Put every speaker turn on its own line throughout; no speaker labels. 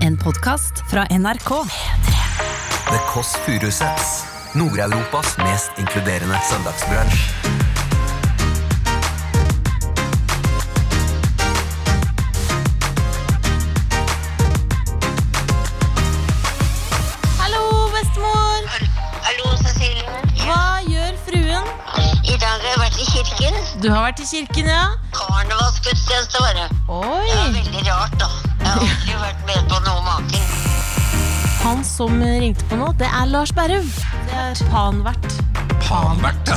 En podkast fra NRK.
The Kåss Furuseths. Nord-Europas mest inkluderende søndagsbransj.
Hallo, bestemor!
Hallo, Cecilie.
Hva gjør fruen?
I dag har jeg vært i kirken.
Du har vært i kirken, ja?
Karnevalsgudstjeneste var det. Det var
Oi!
veldig rart, da. Jeg har aldri vært med på noe maken.
Han som ringte på nå, det er Lars Berrum. Det er panvert.
Panvert.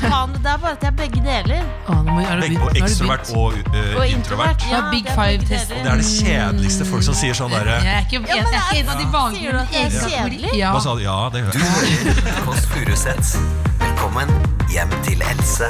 Pan, det er bare at det er begge deler.
Å, nå må jeg- er det-
Begge
nå er
på
det
ekstrovert
begynt.
og eh,
Og
introvert.
introvert.
Ja, Big Five test.
Det er det kjedeligste folk som sier sånn derre
Jeg er ikke, jeg, jeg er ikke en av de vanlige
Sier du at det er
egne kategori.
kjedelig?
Ja.
Hva sa du? Ja, det hører
Du
jeg.
hører Kåss Furuseths. Velkommen hjem til Else.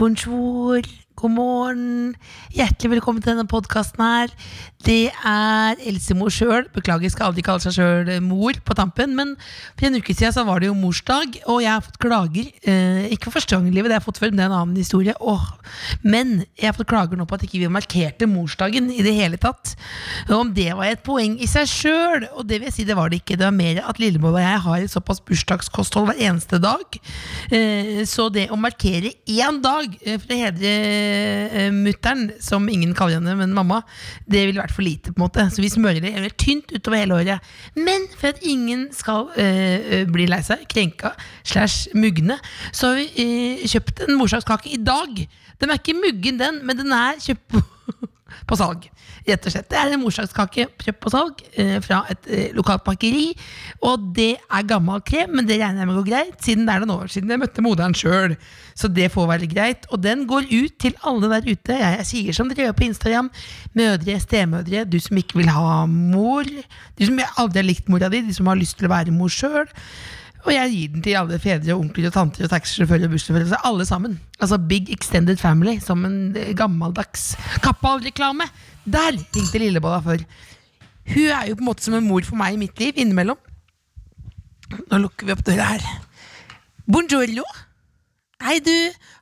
Bonjour, god morgen. Hjertelig velkommen til denne podkasten her. Det er Elsemor sjøl. Beklager, skal aldri kalle seg sjøl mor på tampen. Men for en uke siden så var det jo morsdag, og jeg har fått klager. Eh, ikke for første gang i livet, det har jeg fått før, men det er en annen historie. Åh. Men jeg har fått klager nå på at ikke vi markerte morsdagen i det hele tatt. Og om det var et poeng i seg sjøl, og det vil jeg si det var det ikke. Det var mer at Lillemoll og jeg har et såpass bursdagskosthold hver eneste dag. Eh, Så det å markere én dag eh, for å hedre eh, mutter'n, som ingen kaller henne, men mamma, det ville vært for lite. på en måte Så vi smører det helt tynt utover hele året. Men for at ingen skal eh, bli lei seg, krenka slash mugne, så har vi eh, kjøpt en morsdagskake i dag. Den er ikke muggen, den, men den er kjøpt på på salg. Rett og slett. Det er en morsdagskake kjøpt på salg eh, fra et eh, lokalt bakeri. Og det er gammel krem, men det regner jeg med går greit, siden det er noen år siden jeg møtte moderen sjøl. Så det får være greit. Og den går ut til alle der ute. Jeg, jeg sier som dere gjør på Instagram. Mødre, stemødre, du som ikke vil ha mor. Du som aldri har likt mora di, de som har lyst til å være mor sjøl. Og jeg gir den til alle fedre og onkler og tanter og taxisjåfører og bussjåfører. altså Alle sammen. Altså Big Extended Family som en eh, gammeldags Kappahl-reklame. Der ringte Lillebolla før. Hun er jo på en måte som en mor for meg i mitt liv innimellom. Nå lukker vi opp døra her. Buongiorno. Hei, du.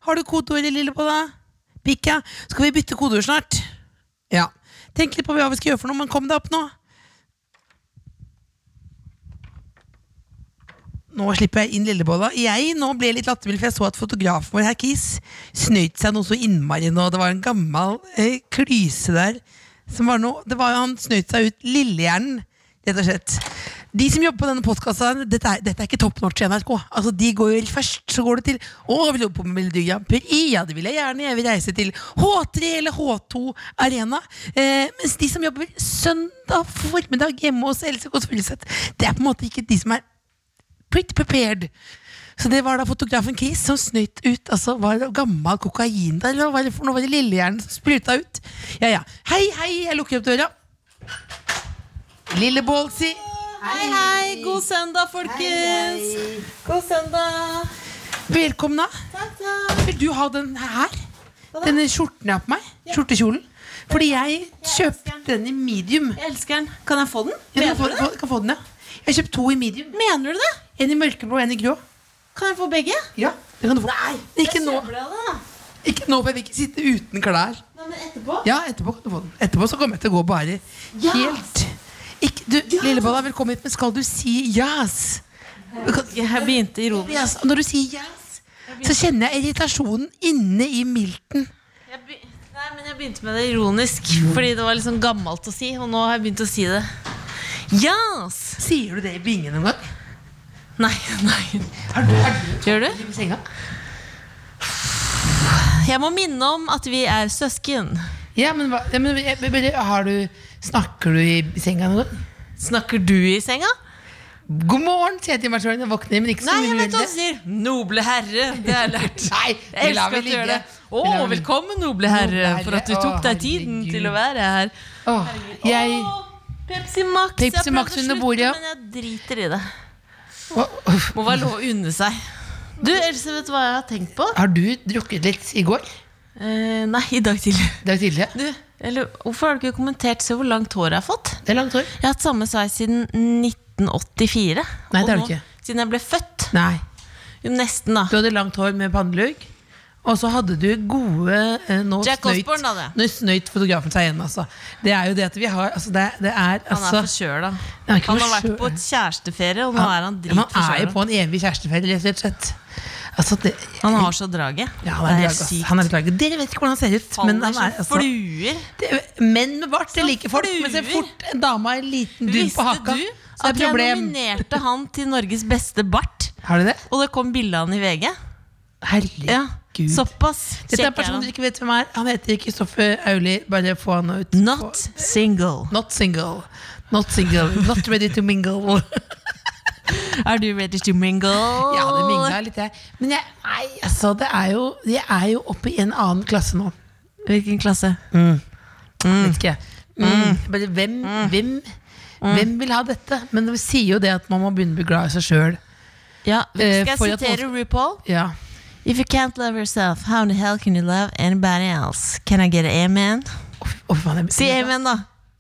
Har du kodeordet, Lillebolla? Pika, skal vi bytte kodeord snart? Ja. Tenk litt på hva vi skal gjøre for noe, men kom deg opp nå. Nå slipper jeg inn lillebolla. Jeg nå ble litt lattermild, for jeg så at fotografen vår her, Kis, snøyt seg noe så innmari nå. Det var en gammel eh, klyse der. Som var noe, det var jo Han snøyt seg ut lillehjernen, rett og slett. De som jobber på denne podkasten, dette, er- dette er ikke top notch i NRK. Altså, de går jo først, så går det til Å, vil du jobbe på Melodi Grand Prix? Ja, det vil jeg gjerne. Jeg vil reise til H3 eller H2 Arena. Eh, mens de som jobber søndag formiddag hjemme hos Else Kåss Furuseth, det er på en måte ikke de som er pretty prepared. Så det var da fotografen Chris som snøyt ut. Altså, var det gammel kokain der, eller hva var det for noe? Var det lillehjernen som spruta ut? Ja, ja. Hei, hei, jeg lukker opp døra. Lille Bålsi.
Hei, hei! God søndag, folkens! God søndag!
Velkomna.
Takk, takk.
Vil du ha den her? Denne skjorten jeg har på meg? Skjortekjolen? Fordi jeg kjøpte den i medium.
Jeg elsker den. Kan jeg få den?
Jeg kan
Mener
få,
du det?
få- kan få den, ja. Jeg har kjøpt to i medium.
Mener du det?
En i mørkeblå, en i grå.
Kan jeg få begge?
Ja, det kan du få. Men ikke nå,
Jeg kjøper deg det, da.
ikke nå, for jeg vil ikke sitte uten klær.
Nei, men etterpå?
Ja, etterpå kan du få den. Etterpå så kommer jeg til å gå bare
Ja.
helt ikke, Du, Lillebolla, velkommen hit, men skal du si yes? Du kan-
Jeg begynte i roden.
yes. og Når du sier yes, så kjenner jeg irritasjonen inne i milten.
Jeg be- Nei, men jeg begynte med det ironisk, fordi det var liksom gammelt å si, og nå har jeg begynt å si det. Yes!
Sier du det i bingen noen gang?
Nei, nei. Gjør du?
I senga?
Jeg må minne om at vi er søsken.
Ja, men, hva, ja, men jeg- jeg- bare, har du, Snakker du i senga noen gang?
Snakker du i senga?
God morgen, sier jeg til meg selv når jeg våkner. Men ikke så
Nei,
mye
jeg
mer
vet hva du
enn det.
sier. Noble herre. Det har jeg lært.
Nei,
Jeg
det lar
elsker
vi
at du gjør det.
ligge. Det
Å,
lar vi ligge.
velkommen, noble herre,
Noble
for at du
herre.
tok
Å,
deg tiden
herregud.
til å være her.
Åh, jeg,
Å, Pepsi Max.
Pepsi
jeg prøvde
Max
å
under
slutte,
bordet, ja.
Men jeg driter i det.
Åh,
Må være lov å unne seg. Du, Else, vet du hva jeg har tenkt på?
Har du drukket litt i går?
Eh, nei, i dag tidlig.
Det er jo tidligere.
Du, eller, hvorfor har du ikke kommentert? Se hvor langt hår jeg har fått.
Det er langt hår.
Jeg har hatt samme sveis siden 1984.
Nei, det
Og
har du
nå,
ikke.
Siden jeg ble født.
Nei.
Jo, nesten, da.
Du hadde langt hår med pannelugg Og så hadde du gode eh, Nå
Jack
snøyt-
Osborne hadde.
Nå snøyt fotografen seg igjen, altså. Det er jo det at vi har altså, det, det er,
Han
altså,
er forkjøla.
Han er ikke
Han har vært
forkjøla.
på et kjæresteferie, og nå er han
Ja, Man er jo
dritforkjøla.
på en evig kjærestefelle, rett og slett. Altså, det,
Han har så draget.
ja, han er,
det er
drag, ass.
sykt.
han er drag. Dere vet ikke hvordan han ser ut. Men han
Faller
er,
som
altså,
fluer.
det, menn med bart det
Som
liker folk, men så
fluer.
fort en dame har en liten dugg på
Visste
haka,
du
så er
at
det
jeg
problem.
nominerte han til Norges beste bart?
Har du det?
Og det kom bilde av han i VG.
Herregud.
Ja, Såpass.
Dette er en
kjekk er
person dere
han.
ikke vet hvem er. Han heter Kristoffer Auli. Bare få han ut.
Not single.
Not single. Not single. Not ready to mingle.
Are you ready to mingle?
ja, det mingla litt, jeg. Men jeg, nei, altså, det er jo, jeg er jo oppe i en annen klasse nå.
Hvilken klasse?
Vet ikke. Mm. Bare hvem, hvem,
Mm.
hvem vil ha dette? Men de sier jo det at man må begynne å bli glad i seg sjøl.
Ja,
Eh,
Skal jeg
for at
sitere RuPaul?
Ja.
If you can't love yourself, how in the hell can you love anybody else? Can I get an amen?
Å, fy faen, jeg-
Si amen, da.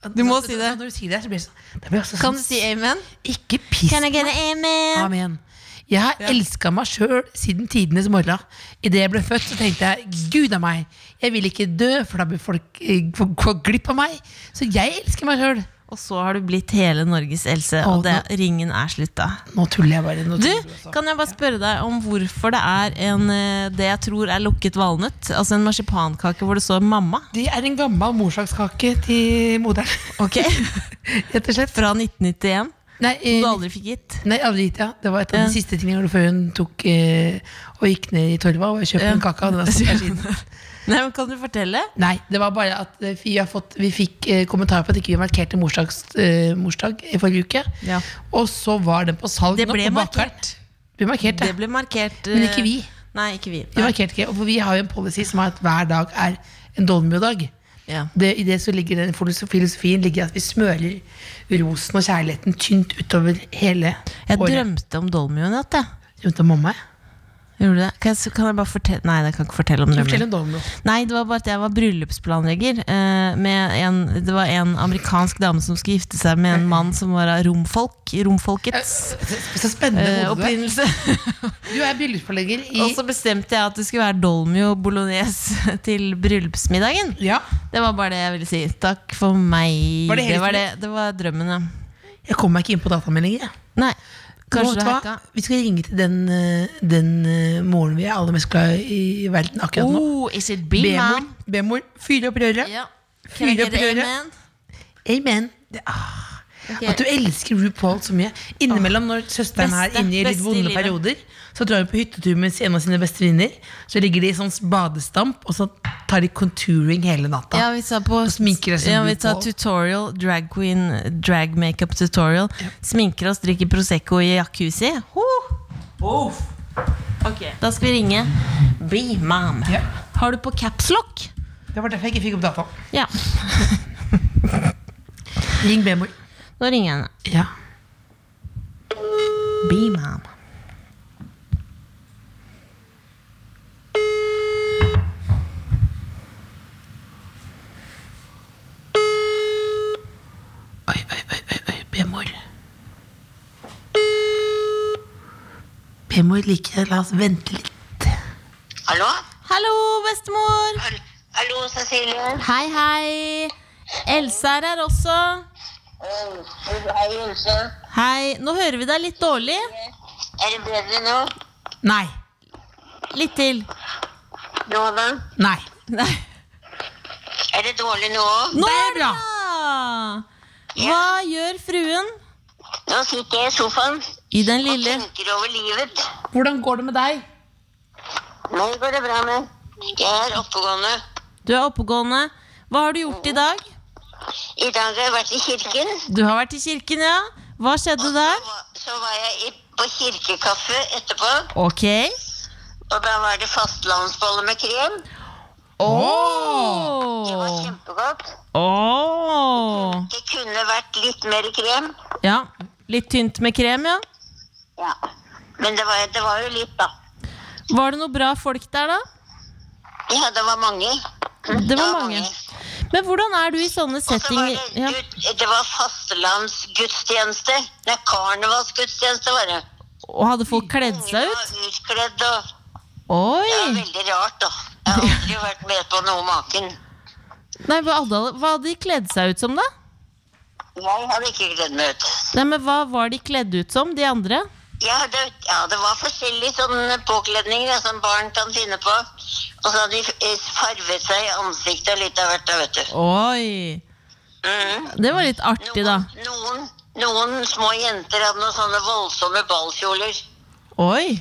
Du må si det.
Når du sier det, så blir det sånn, det blir også
Kan
sånn
du si amen?
Ikke piss
Can I get an amen?
Amen. Jeg har elska meg sjøl siden tidenes morgen. Idet jeg ble født, så tenkte jeg gud a meg, jeg vil ikke dø, for da blir folk eh, få- gå glipp av meg. Så jeg elsker meg sjøl.
Og så har du blitt hele Norges Else, og
Å,
det, ringen er slutta.
Nå tuller jeg bare. Nå
Du,
tuller jeg også.
kan jeg bare spørre deg om hvorfor det er en, eh, det jeg tror er lukket valnøtt? Altså en marsipankake hvor det står 'mamma'.
Det er en gammel morsakskake til moderen,
Ok?
rett og slett.
Fra 1991.
Nei, eh,
Du aldri fikk gitt.
nei, aldri gitt, ja. Det var et av de siste tingene jeg gjorde før hun tok eh, og gikk ned i torva og kjøpte en kake. av den altså, kanskje siden.
Nei, men Kan du fortelle?
Nei, det var bare at eh, vi, har fått, vi fikk eh, kommentarer på at ikke vi markerte morsdags, eh, morsdag i forrige uke.
Ja.
Og så var den på salg
Det
nå
ble
på bakeren.
markert.
Det ble markert,
Det
ja.
ble markert.
Men
eh,
ikke vi.
Nei, ikke vi.
Vi
Nei.
markerte ikke, og for vi har jo en policy som er at hver dag er en Dolmio-dag.
Ja.
Det, I det så ligger den filosof- filosofien ligger at vi smører rosen og kjærligheten tynt utover hele
Jeg
året.
drømte om Dolmio i natt, jeg.
Drømte om mamma. jeg.
Gjorde du det? Kan jeg, kan jeg bare fortelle Nei, jeg kan ikke fortelle om
Fortell
drømmen.
om Dolmio.
Nei, det var bare at jeg var bryllupsplanlegger. eh, med en, det var en amerikansk dame som skulle gifte seg med en
Mm.
mann som var av romfolk. Romfolkets
Så spennende.
eh,
hodet du er.
opprinnelse.
du er bryllupsforlegger i
Og så bestemte jeg at det skulle være dolmio bolognese til bryllupsmiddagen.
Ja.
Det var bare det jeg ville si. Takk for meg.
Var det helt
var, det, det var drømmen, ja.
Jeg kom meg ikke inn på datameldinger. jeg.
Nei,
Nå,
kanskje
vet
du
du
har
hva? Vi skal ringe til den, eh, den eh, moren vi er aller mest glad i i verden akkurat nå.
Oh, is it big,
B-mor.
mom?
B-mor, Fyre opp røret.
Ja. Can I
Fyre
get
opp
an
røret.
amen?
Amen. Det, ah. At du elsker RuPaul så mye. Innimellom når søsteren
Beste,
er inne i litt
beste i
vonde
livet.
perioder, så drar hun på hyttetur med en av sine beste venninner. Så ligger de i sånn badestamp, og så tar de contouring hele natta.
Ja, vi sa på
Og sminker oss som
ja, vi
RuPaul.
sa tutorial, drag queen, drag makeup tutorial. Sminker oss, drikker Prosecco i jacuzzi. Ho! Ok, Da skal vi ringe Be Mom.
Ja.
Har du på capslock?
Det var derfor jeg ikke fikk opp dataen.
Ja.
Ring B-mor.
Nå ringer jeg henne.
Ja.
Be Mom.
Oi, oi, oi, oi, oi. B-mor. B-mor liker det. La oss vente litt.
Hallo?
Hallo, bestemor!
Hall- Hallo, Cecilie.
Hei, hei. Elsa er her også.
Eh, Hei, Else.
Hei. Nå hører vi deg litt dårlig.
Er det bedre nå?
Nei.
Litt til.
Nå da?
Nei.
Nei.
Er det dårlig nå òg?
Nå
Det
er
er
det
bra.
bra! Hva gjør fruen?
Nå sitter jeg i sofaen
I den
og
lille
tenker over livet.
Hvordan går det med deg?
Meg går det bra med. Jeg er oppegående.
Du er oppegående. Hva har du gjort i dag?
I dag har jeg vært i kirken.
Du har vært i kirken, ja. Hva skjedde
Så
der?
var- Så var jeg i, på kirkekaffe etterpå,
Ok.
og da var det fastlandsbolle med krem. Det var
Ååå.
kjempegodt.
Ååå.
Det kunne vært litt mer krem.
Ja. Litt tynt med krem, ja.
Ja. Men det var, det var jo litt, da.
Var det noe bra folk der, da?
Ja, det var mange.
Det var mange. Men hvordan er du i sånne
Og så var
settinger?
det,
Ja.
ut- det var fastelandsgudstjeneste. Nei, karnevalsgudstjeneste var det.
Og hadde folk kledd
Ungene
seg
var
ut?
utkledd og Det var
Oi!
veldig rart, da. Jeg har aldri vært med på noe maken.
Nei, hva, hadde, hva hadde de kledd seg ut som, da?
Jeg har ikke gledd meg ut.
Nei, men Hva var de kledd ut som, de andre?
Ja, det, ja, det var forskjellige sånne påkledninger ja, som barn kan finne på. Og så hadde de eh, farvet seg i ansiktet litt av hvert, da, vet du.
Oi!
Mhm.
Det var litt artig, da.
Noen, noen, noen små jenter hadde noen sånne voldsomme ballkjoler.
Oi!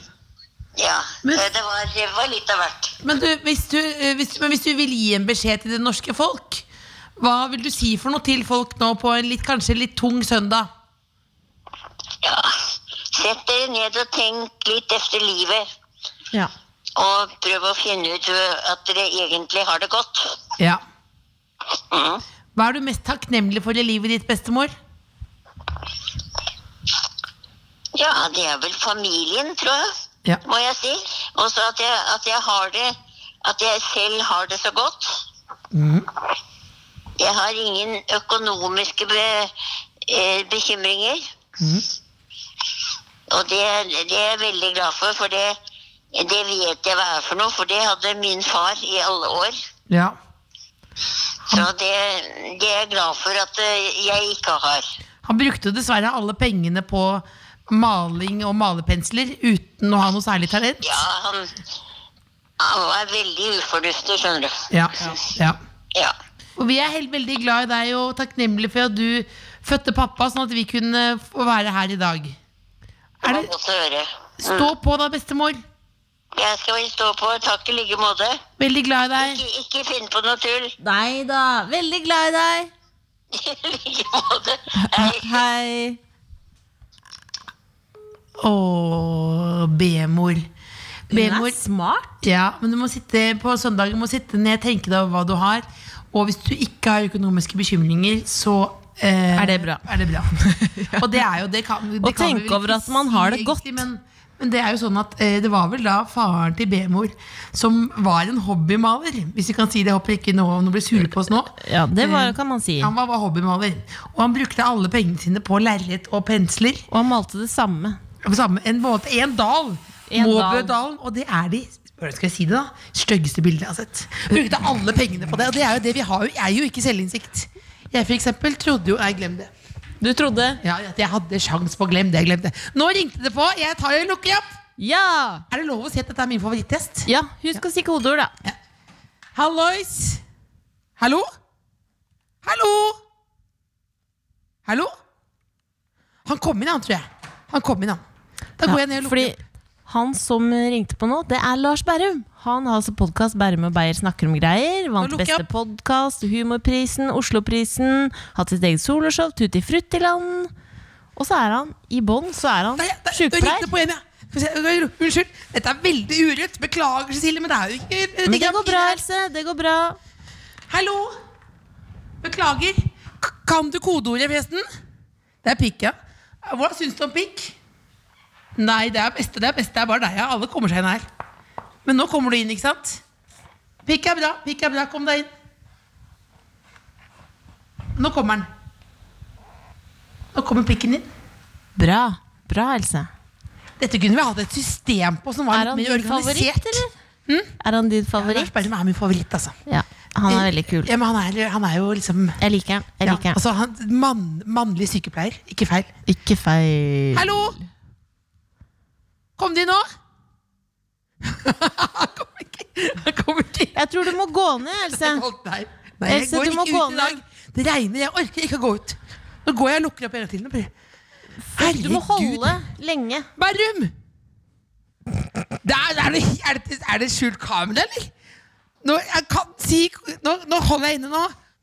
Ja,
Men-
eh, det var, det var litt av hvert.
Men, du, hvis du, eh, hvis, men hvis du vil gi en beskjed til det norske folk, hva vil du si for noe til folk nå på en litt, kanskje litt tung søndag?
Ja. Sett dere ned og tenk litt efter livet.
Ja.
Og prøv å finne ut ø, at dere egentlig har det godt.
Ja.
Mhm.
Hva er du mest takknemlig for i livet ditt, bestemor?
Ja, det er vel familien, tror jeg.
Ja.
Må jeg si. Og så at, jeg- at jeg har det At jeg selv har det så godt.
Mm.
Jeg har ingen økonomiske be, eh, bekymringer.
Mm.
Og det, det er jeg veldig glad for, for det, det vet jeg hva er for noe. For det hadde min far i alle år.
Ja.
Så det, det er jeg glad for at eh, jeg ikke har.
Han brukte jo dessverre alle pengene på maling og malepensler uten å ha noe særlig talent.
Ja, han, han var veldig ufornuftig, skjønner du.
Ja, ja.
Ja.
Og vi er helt veldig glad i deg og takknemlig for at du fødte pappa, sånn at vi kunne få være her i dag.
Det
Er
var
det,
godt å høre.
stå på da, bestemor.
Jeg skal vel stå på. Takk i like måte.
Veldig glad i deg.
Ikke, ikke finn på noe tull.
Nei da. Veldig glad i deg.
I like måte. Hei.
Hei.
Åh, B-mor.
Hun
B-mor.
er smart.
Ja, men du må sitte på søndagen må sitte ned, tenke deg over hva du har. Og hvis du ikke har økonomiske bekymringer, så eh,
Er det bra.
Er det bra. Og det er jo det kan, det
Og
kan
tenke
vi vel
over
ikke
at man har det
si
godt.
egentlig, Men, men det er jo sånn at eh, det var vel da faren til B-mor som var en hobbymaler. Hvis vi kan si det. Jeg håper ikke noen blir sure på oss nå.
Ja, det var, kan man si.
Han var, var hobbymaler, og han brukte alle pengene sine på lerret og pensler.
Og han malte det samme.
Samme, en, måte, en dal.
En
Måbødalen. Og det er de hvordan skal jeg si det da? styggeste bildene jeg har sett. Brukte alle pengene på det. Og det er jo det vi har, jo- er jo ikke selvinnsikt. Jeg for eksempel trodde jo Nei, glem det.
Du trodde?
Ja, at jeg hadde sjans på å glemme det. Jeg glemte. Nå ringte det på. Jeg tar og lukker opp.
Ja!
Er det lov å si at dette er min favorittest?
Ja, Husk å si kodeord, da.
Hallois! Hallo? Hallo? Hallo? Han kom inn, han, tror jeg. Han kom inn, han. Da går jeg ned og lukker
Fordi han som ringte på nå, det er Lars Berrum. Han har altså podkast 'Berrum og Beyer snakker om greier'. Vant
Nå lukker jeg
Beste podkast, Humorprisen, Osloprisen. Hatt sitt eget soloshow, Tutti Fruttiland. Og så er han i bånn, så er han
Nei, det-
sjukepleier.
riktig på igjen, ja. Skal vi se, øh, Unnskyld. Dette er veldig urett. Beklager, Cecilie, men det er jo ikke
Men det
er
går
ikke
bra,
her.
Else. Det går bra.
Hallo! Beklager. K kan du kodeordet, forresten? Det er pikk, ja. Hva syns du om pikk? Nei, det er beste, det er beste. Det er bare deg, ja. Alle kommer seg inn her. Men nå kommer du inn, ikke sant? Pikk er bra. Pikk er bra. Kom deg inn. Nå kommer han. Nå kommer pikken inn.
Bra. Bra, Else.
Dette kunne vi hatt et system på som var
Er
litt
han
mer
din
organisert. Hm?
favoritt, eller? Er han din favoritt?
Lars Berrum er min favoritt, altså.
Ja, han er veldig kul.
Ja, men han er, han er jo liksom
Jeg liker han. Jeg
ja,
liker han.
altså, han, mann, Mannlig sykepleier. Ikke feil.
Ikke feil.
Hallo! Kom de nå? han kommer ikke. Han kommer ikke.
Jeg tror du må gå ned, Else.
Å, Nei, Nei jeg
Else,
går
du må
ikke
gå
ut i dag.
ned.
Det regner. Jeg orker ikke å gå ut. Nå går jeg og lukker opp hele tiden. og prøver.
Du må holde lenge.
Berrum! Det er, er, det, er, det, er det skjult kamera, eller? Nå, jeg kan si, nå, nå holder jeg inne nå.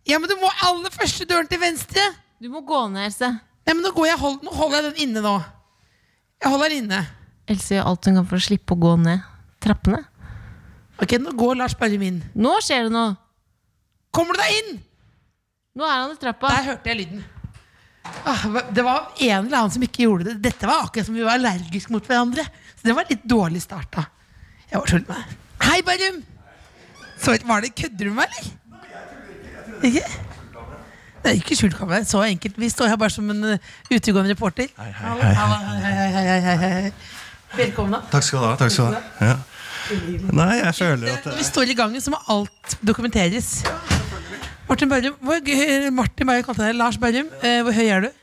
Ja, men du må aller første døren til venstre.
Du må gå ned, Else.
Nei, men nå, går jeg, hold, nå holder jeg den inne nå. Jeg holder den inne.
Else gjør alt hun kan for å slippe å gå ned trappene.
Ok, nå går Lars Berrum inn.
Nå skjer det noe!
Kommer du deg inn?
Nå er han i trappa.
Der hørte jeg lyden. Ah, hva- Det var en eller annen som ikke gjorde det. Dette var akkurat som vi var allergiske mot hverandre. Så det var litt dårlig start, da. Jeg var skyldig meg. Hei, Berrum! Så, var det Kødder du med meg, eller? Ikke? Det er ikke skjult kamera. Så enkelt. Vi står her bare som en eh, utegående reporter. Hei, hei, hei, hei, hei, hei, hei. Velkommen. da.
Takk skal du ha. Takk skal du ha. Ja. Nei, jeg føler at
Når vi står i gangen, så må alt dokumenteres. Martin Børum, hvor, g- Martin Børum kalte deg Lars Børum. Eh, hvor høy er du?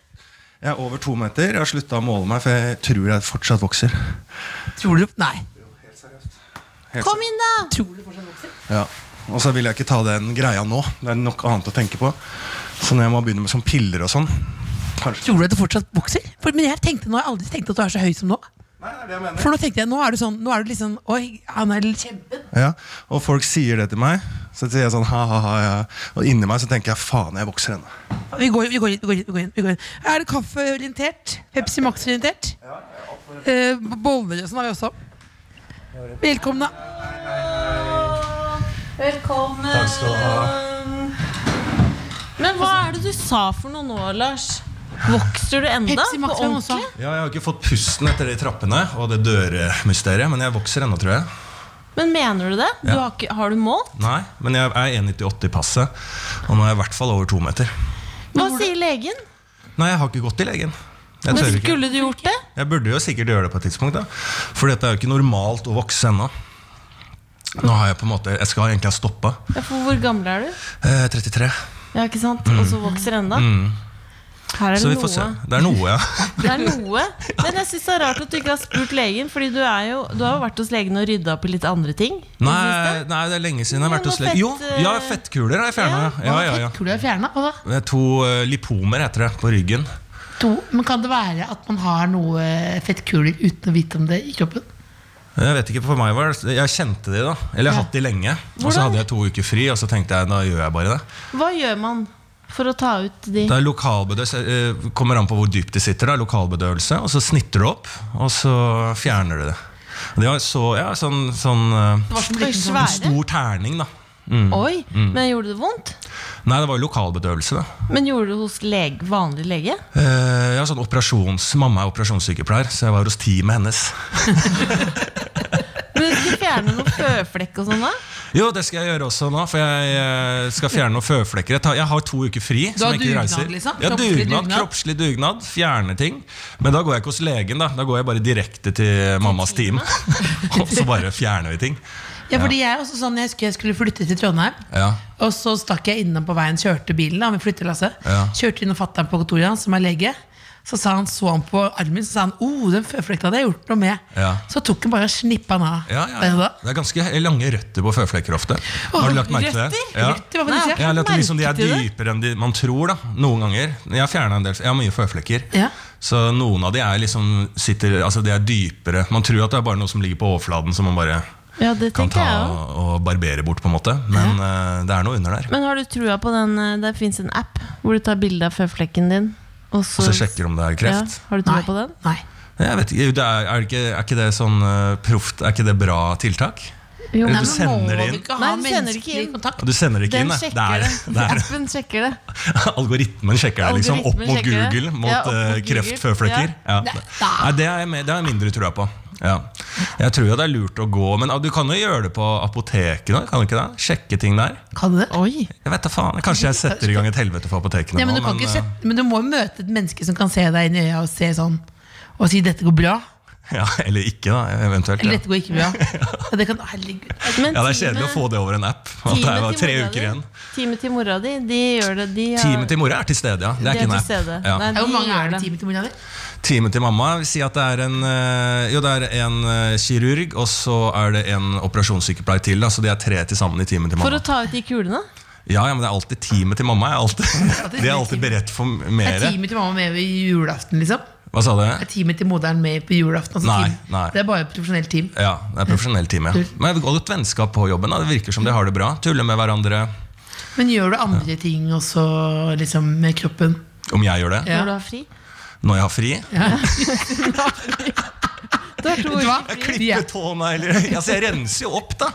jeg er over to meter. Jeg har slutta å måle meg, for jeg tror jeg fortsatt vokser.
Tror du Nei.
Helt
Kom inn, da!
Tror du fortsatt vokser?
Ja. Og så vil jeg ikke ta den greia nå. Det er nok annet å tenke på. Så når jeg må begynne med sånn piller og sånn Kanskje.
Tror du at du fortsatt vokser? For, men jeg tenkte nå, jeg har aldri tenkt at du er så høy som nå.
Nei, det er det jeg mener.
For nå tenkte jeg, nå er du sånn, nå er du liksom Oi, han er litt kjempe.
Ja, og folk sier det til meg. Så sier jeg sånn ha, ha, ha. Ja. Og inni meg så tenker jeg faen, jeg vokser ennå.
Vi går, vi går inn, vi går inn, vi går inn, vi går inn. Er det kaffeorientert? Pepsi Max-orientert? Eh, boller og sånn har vi også. Velkomne.
Velkommen.
Takk skal du
Men hva er det du sa for noe nå, Lars? Vokser du enda?
Pepsi Max
På
var også.
ordentlig?
Ja, jeg har ikke fått pusten etter de trappene og det dørmysteriet, men jeg vokser ennå, tror jeg.
Men mener du det? Du
Ja.
har, ikke, har du målt?
Nei, men jeg er 1,98 i passet, og nå er jeg i hvert fall over to meter.
Hva sier legen?
Nei, jeg har ikke gått til legen. Jeg
Men
tør ikke.
skulle du gjort det?
Jeg burde jo sikkert gjøre det på et tidspunkt, da. For dette er jo ikke normalt å vokse ennå. Nå har jeg på en måte Jeg skal egentlig ha stoppa.
Ja, for hvor gammel er du?
Eh, 33.
Ja, ikke sant? Og så vokser enda? Her er
Mm. Så
det
vi får se.
noe.
Det er noe, ja.
Det er noe. Men jeg syns det er rart at du ikke har spurt legen, Fordi du, er jo, du har jo vært hos legen og rydda opp i litt andre ting.
Nei, nei, det er lenge siden jeg har vært hos legen. Jo, ja, fettkuler har jeg fjerna. Ja, ja, ja.
Tror du jeg har fjernet, hva da?
Det er To eh, lipomer heter det, på ryggen.
To. Men kan det være at man har noe fettkuler uten å vite om det i kroppen?
Jeg vet ikke, for meg var det Jeg kjente de, da. Eller jeg har hatt de lenge. Og så
Hvordan?
hadde jeg to uker fri, og så tenkte jeg da gjør jeg bare det.
Hva gjør man for å ta ut de
Det er lokalbedøvelse, eh, kommer an på hvor dypt de sitter, da, lokalbedøvelse, og så snitter du opp, og så fjerner du det. Og De har så, ja, sånn, sånn eh,
Oi, svære?
stor terning, da. Mm.
Oi, men gjorde det vondt?
Nei, det var jo lokalbedøvelse, det.
Men gjorde du det hos leg, vanlig lege?
Eh, ja, sånn operasjons, mamma er operasjonssykepleier, så jeg var hos teamet hennes.
Men du skulle fjerne noen føflekk og sånn da?
Jo, det skal jeg gjøre også nå, for jeg eh, skal fjerne noen føflekker. Jeg, tar, jeg har to uker fri.
har
som jeg ikke
dugnad,
reiser.
liksom?
Ja,
Kroppslig
dugnad,
dugnad?
Kroppslig dugnad. Fjerne ting. Men da går jeg ikke hos legen, da. Da går jeg bare direkte til mammas team. og så bare fjerner vi ting.
Ja, fordi jeg er også sånn, jeg husker jeg skulle flytte til Trondheim.
Ja.
Og så stakk jeg innom på veien, kjørte bilen da, med flyttelasset.
Ja.
Kjørte innom fatter'n på kontoret hans, som er lege. Så sa han, så han på armen min, så sa han oh, den føflekta hadde jeg gjort noe med.
Ja.
Så tok han bare og snippa den av.
Ja, ja,
Der og
ja.
da.
Det er ganske lange røtter på føflekker ofte. Har du lagt merke til det?
røtter?
Ja.
Røtter, hva kan du
Nei,
si?
Jeg har lagt liksom, De er
Merke til det?
dypere enn de, man tror. da, Noen ganger. Jeg har fjernet en del, jeg har mye føflekker.
Ja.
Så noen av de er liksom sitter, altså de er dypere. Man tror at det er bare noe som ligger på overflaten som man bare
Ja, det
kan
tenker
ta
jeg også.
og, og barbere bort, på en måte. Men eh, det er noe under der.
Men har du trua på den eh, Der fins en app hvor du tar bilde av føflekken din, og så,
Og så sjekker om det er
ja,
kreft.
Har du trua på den?
Nei.
Jeg vet ikke, det er, er, det ikke, er ikke det sånn eh, proft Er ikke det bra tiltak?
Jo,
Eller
men
du sender det inn?
Nei, du sender ikke inn.
Og Du sender det ikke
den
inn,
sjekker
det. Det er,
det.
det er
Appen sjekker det.
Algoritmen sjekker deg liksom opp
Algoritmen
mot
sjekker det.
Google mot
Ja, opp mot
eh,
Google.
kreftføflekker. Ja. Nei, det har jeg, mer- det har jeg mindre trua på. Ja. Jeg tror jo det er lurt å gå, men ah, du kan jo gjøre det på apotekene. Kan du ikke det? Sjekke ting der.
Kan du det?
Oi.
Jeg vet da faen, Kanskje jeg setter i gang et helvete for apotekene
Ja, men, du
nå,
kan ikke
eh,
sette, men du må jo møte et menneske som kan se deg inn i øya og se sånn og si 'dette går bra',
ja, Eller ikke, da, eventuelt.
eller
Ja.
'dette går ikke bra'. Og det kan, herregud.
Men
Ja, Det er kjedelig å
teamet-
få det over en app. At det er
teamet
bare
eh, til
tre
mora
uker
di-
igjen
Teamet til mora di, de gjør det. De har,
Teamet til mora er til stede, ja. Det er
de
ikke en
til
app.
stede.
Ja.
Nei,
Hvor
de
mange
gjør
er det
det.
i timen til mora di?
Teamet til mamma vil si at det er en, eh, jo, det er en eh, kirurg, og så er det en operasjonssykepleier til. Da, så de er tre til sammen i teamet til
For
mamma.
å ta ut de kulene?
Ja, ja, men det er alltid teamet til mamma. Jeg er alltid, de er alltid beredt for
Er
mer.
teamet til mamma med på julaften, liksom?
Hva sa du?
Er teamet til moderen med på julaften? Altså
Nei,
team?
nei.
Det er bare et profesjonelt team.
Ja, det er profesjonelt team. Ja. Men det er godt vennskap på jobben. Da. Det virker som de har det bra. Tuller med hverandre.
Men gjør du andre ting også, liksom, med kroppen?
Om jeg gjør det?
Ja.
Når du har fri?
Når jeg har fri?
Du har to uker
Jeg
fri.
klipper tånegler. Altså, jeg renser jo opp, da.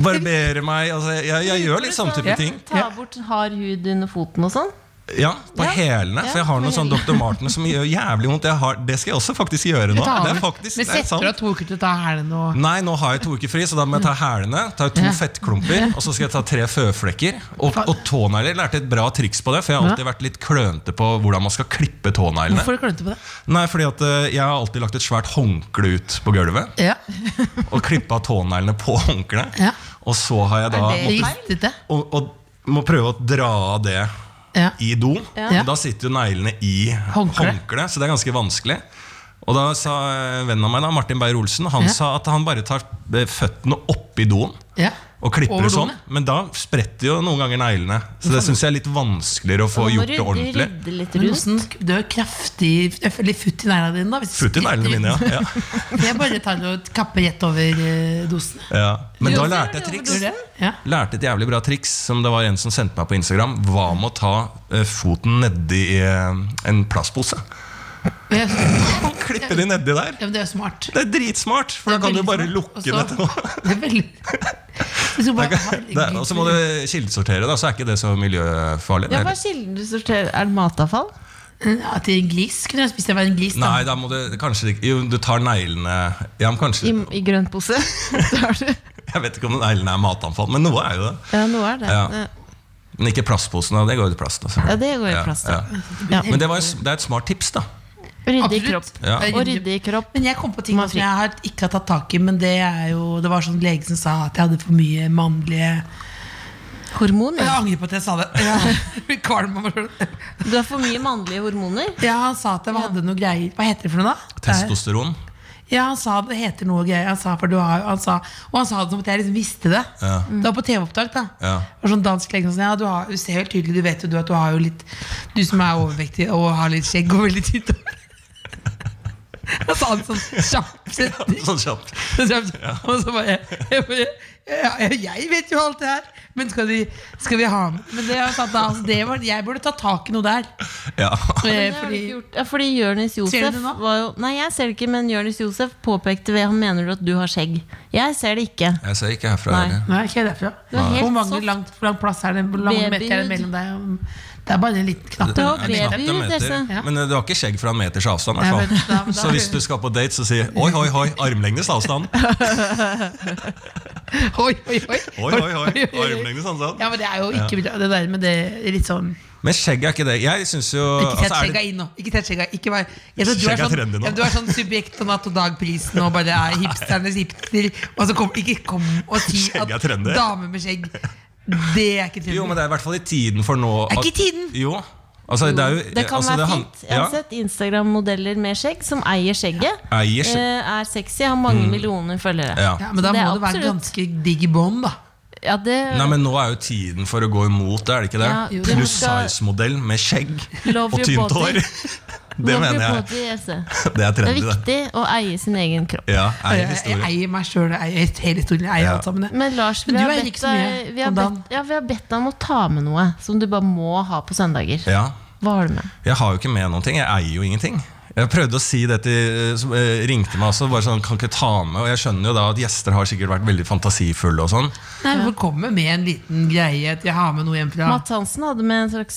Barberer meg. Altså, jeg, jeg gjør litt sånn type ting.
Ta bort hard hud under foten og sånn?
Ja, på hælene. For jeg har noen sånn Dr. Martens som gjør jævlig vondt. Jeg har, det skal jeg også faktisk gjøre nå. Det er faktisk,
Men
det er
setter du av
sant. Mm.
to uker til å ta hælene og
Nei, nå har jeg to uker fri, så da må jeg ta hælene. Ta to
Ja.
fettklumper, og så skal jeg ta tre føflekker. Og, og tånegler. Lærte et bra triks på det, for jeg har alltid vært litt klønete på hvordan man skal klippe tåneglene.
Hvorfor klønete på det?
Nei, fordi at eh, Jeg har alltid lagt et svært håndkle ut på gulvet
Ja.
og klippa tåneglene på håndkleet.
Ja.
Og så har jeg da måttet-
Ristete.
og, og må prøve å dra av det
Ja.
i do.
Ja.
Da sitter jo neglene i
Håndkle.
håndkleet, så det er ganske vanskelig. Og da sa eh, vennen av meg, da, Martin Beyer-Olsen, han
Ja.
sa at han bare tar eh, føttene oppi doen.
Ja.
Og klipper
Over
det sånn,
doen,
men da spretter jo noen ganger neglene. Så det syns jeg er litt vanskeligere å få
må
gjort det
rydde,
ordentlig.
rydde litt
Men
rundt.
hvordan sk- Det er jo kraftig Eller futt i neglene dine, da. hvis-
Futt i neglene mine, ja. ja.
Jeg bare tar og kapper rett over eh, dosene.
ja. Men da
også gjør
lærte jeg
det
triks.
overdosen.
Ja.
Lærte et jævlig bra triks som det var en som sendte meg på Instagram. Hva med å ta eh, foten nedi eh, en plastpose?
Men jeg- ja,
Klippe de nedi der.
men det er jo smart.
Det er dritsmart, for
Det
da
er
kan du
veldig
bare
smart.
lukke
Også-
den etterpå.
Det er veldig Hvis du bare-
Det er- Og så må du kildesortere, da, så er ikke det så
Ja,
miljøfarlig. det
hva
er-
er kilden du sorterer? Er det matavfall?
Ja, til en glis kunne jeg spist. Jeg var en glis, da.
Nei, da må du kanskje ikke- Jo, du tar neglene Ja, men
I,
kanskje
i grønn pose? Så har du-
Jeg vet ikke om neglene er matanfall, men noe er jo det.
ja, noe er det.
Ja. Men ikke plastposen, da. Det går jo til plast. Altså.
Ja, det går i
Ja,
plast.
ja.
da. Ja.
Men det, var, jo- det er et smart tips, da.
Rydde i
Absolutt.
kropp.
Ja.
Jeg
Og
rydder-
rydde i kropp.
Men jeg kom på ting
Man
som jeg har ikke har tatt tak i, men det er jo Det var sånn lege som sa at jeg hadde for mye mannlige
Hormoner.
Jeg angrer på at jeg sa det. Ja. Jeg blir kvalm av meg selv.
Du har for mye mannlige hormoner.
Ja, han sa at jeg hadde noe greier. Hva heter det for noe, da? Det er-
Testosteron.
Ja, han sa det heter noe greier. Han sa, for du har, han sa, og han sa det som at jeg liksom visste det.
Ja.
Det var på TV-opptak, da.
Ja.
Det var Sånn dansk lege som sa, ja, du, har, du ser helt tydelig, du vet jo du at du har jo litt Du som er overvektig og har litt skjegg og veldig tynt hår. Han sa det sånn kjapt.
Sånn kjapt.
Så jeg- Og så bare, jeg, bare ja, jeg, jeg vet jo alt det her, men skal vi, skal vi ha med Men det, han sa, da, altså, det var, jeg burde ta tak i noe der.
Ja.
Eh,
Det har du
Fordi,
ikke gjort. Ja, fordi Jonis
Ser
Josef
du det nå?
var jo Nei, jeg ser det ikke, men Jonis Josef påpekte ved Han mener du at du har skjegg. Jeg ser det ikke.
Jeg ser ikke herfra
Nei.
heller.
Nei, ikke derfra.
Du er helt
Hvor mange
soft.
langt, hvor lang plass er det, hvor mange meter er det
Babyhud.
mellom deg? og- Det er bare en liten knapp.
Det var
Ja, det er knapt en
babyhud,
meter.
disse.
Ja.
Men eh, du har ikke skjegg fra en meters avstand. i
Nei,
hvert
men da-
fall.
da-
Så hvis du skal på date, så si oi, oi, oi, armlengdes avstand.
Oi, oi, oi.
Oi, oi, oi, armlengdes avstand.
Ja, men det er jo ikke det der med det er litt sånn
Men skjegg er ikke det. Jeg synes jo
Ikke sett
altså, er
skjegga
det,
inn nå. Ikke sett skjegga ikke vær, jeg tror du, er
Skjegg er
sånn,
trendy nå.
ja, du er sånn subjekt på Natt og Dag-prisen og bare er hipsternes hipster. Og så kom, ikke kom og si
Skjegg er
at
trendy.
damer med skjegg, det er ikke trendy.
jo, men det er i hvert fall i tiden for nå
Er
at-
ikke tiden?
Jo. Altså, det er jo
Det kan
altså,
være
han-
fint. Jeg har sett Instagram-modeller med skjegg som eier skjegget.
Eier skjegg. Mm.
Eh, er sexy, har mange millioner følgere.
Ja.
ja, men da
Det er
må det være
absolutt.
ganske digg i bånd, da.
Ja, det
Nei, men Nå er jo tiden for å gå imot det, er det ikke det?
Ja, jo.
Pluss
Du skal-
size-modell med skjegg
Love
og
your
tynt
body.
hår. Det
Love
mener
your
jeg.
body, Else.
Det er
E. Det er
trendy, det.
viktig å eie sin egen kropp.
Ja,
Jeg,
eier
jeg,
historie.
eier meg sjøl, jeg eier hele historien. Jeg eier
Ja.
alt sammen. jeg.
Men Lars, vi
Men du
har,
eier
bedt
ikke så mye
deg, vi, har
om dagen.
bedt, ja, vi har bedt deg om å ta med noe som du bare må ha på søndager.
Ja.
Hva har du med?
Jeg har jo ikke med noen ting. Jeg eier jo ingenting. Jeg prøvde å si det til som, eh, Ringte meg også. Bare sånn, kan ikke ta med Og jeg skjønner jo da at gjester har sikkert vært veldig fantasifulle. og sånn
Nei, men Kommer med en liten greie til jeg har med noe hjem fra
Matt Hansen hadde med en slags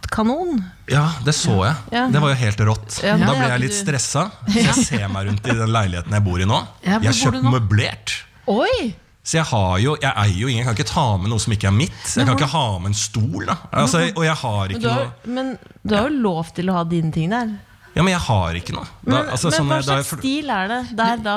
luftkanon.
Ja, det så jeg.
Ja.
Det var jo helt rått.
Ja, men
da
det
ble
har
jeg
ikke
litt
du.
stressa. Så jeg ser meg rundt i den leiligheten jeg bor i nå.
Ja, hvor
Jeg har
bor du
kjøpt
nå?
møblert.
Oi!
Så jeg har jo, jeg eier jo ingen. Jeg kan ikke ta med noe som ikke er mitt. Jeg kan ikke ha med en stol. da altså, Og jeg har
Men
ikke
du, har,
noe
men du har jo lov til å ha dine ting der.
Ja, men jeg har ikke noe. Da,
Men,
altså,
men
sånn,
hva
da jeg
slags
fl-
stil er det der da?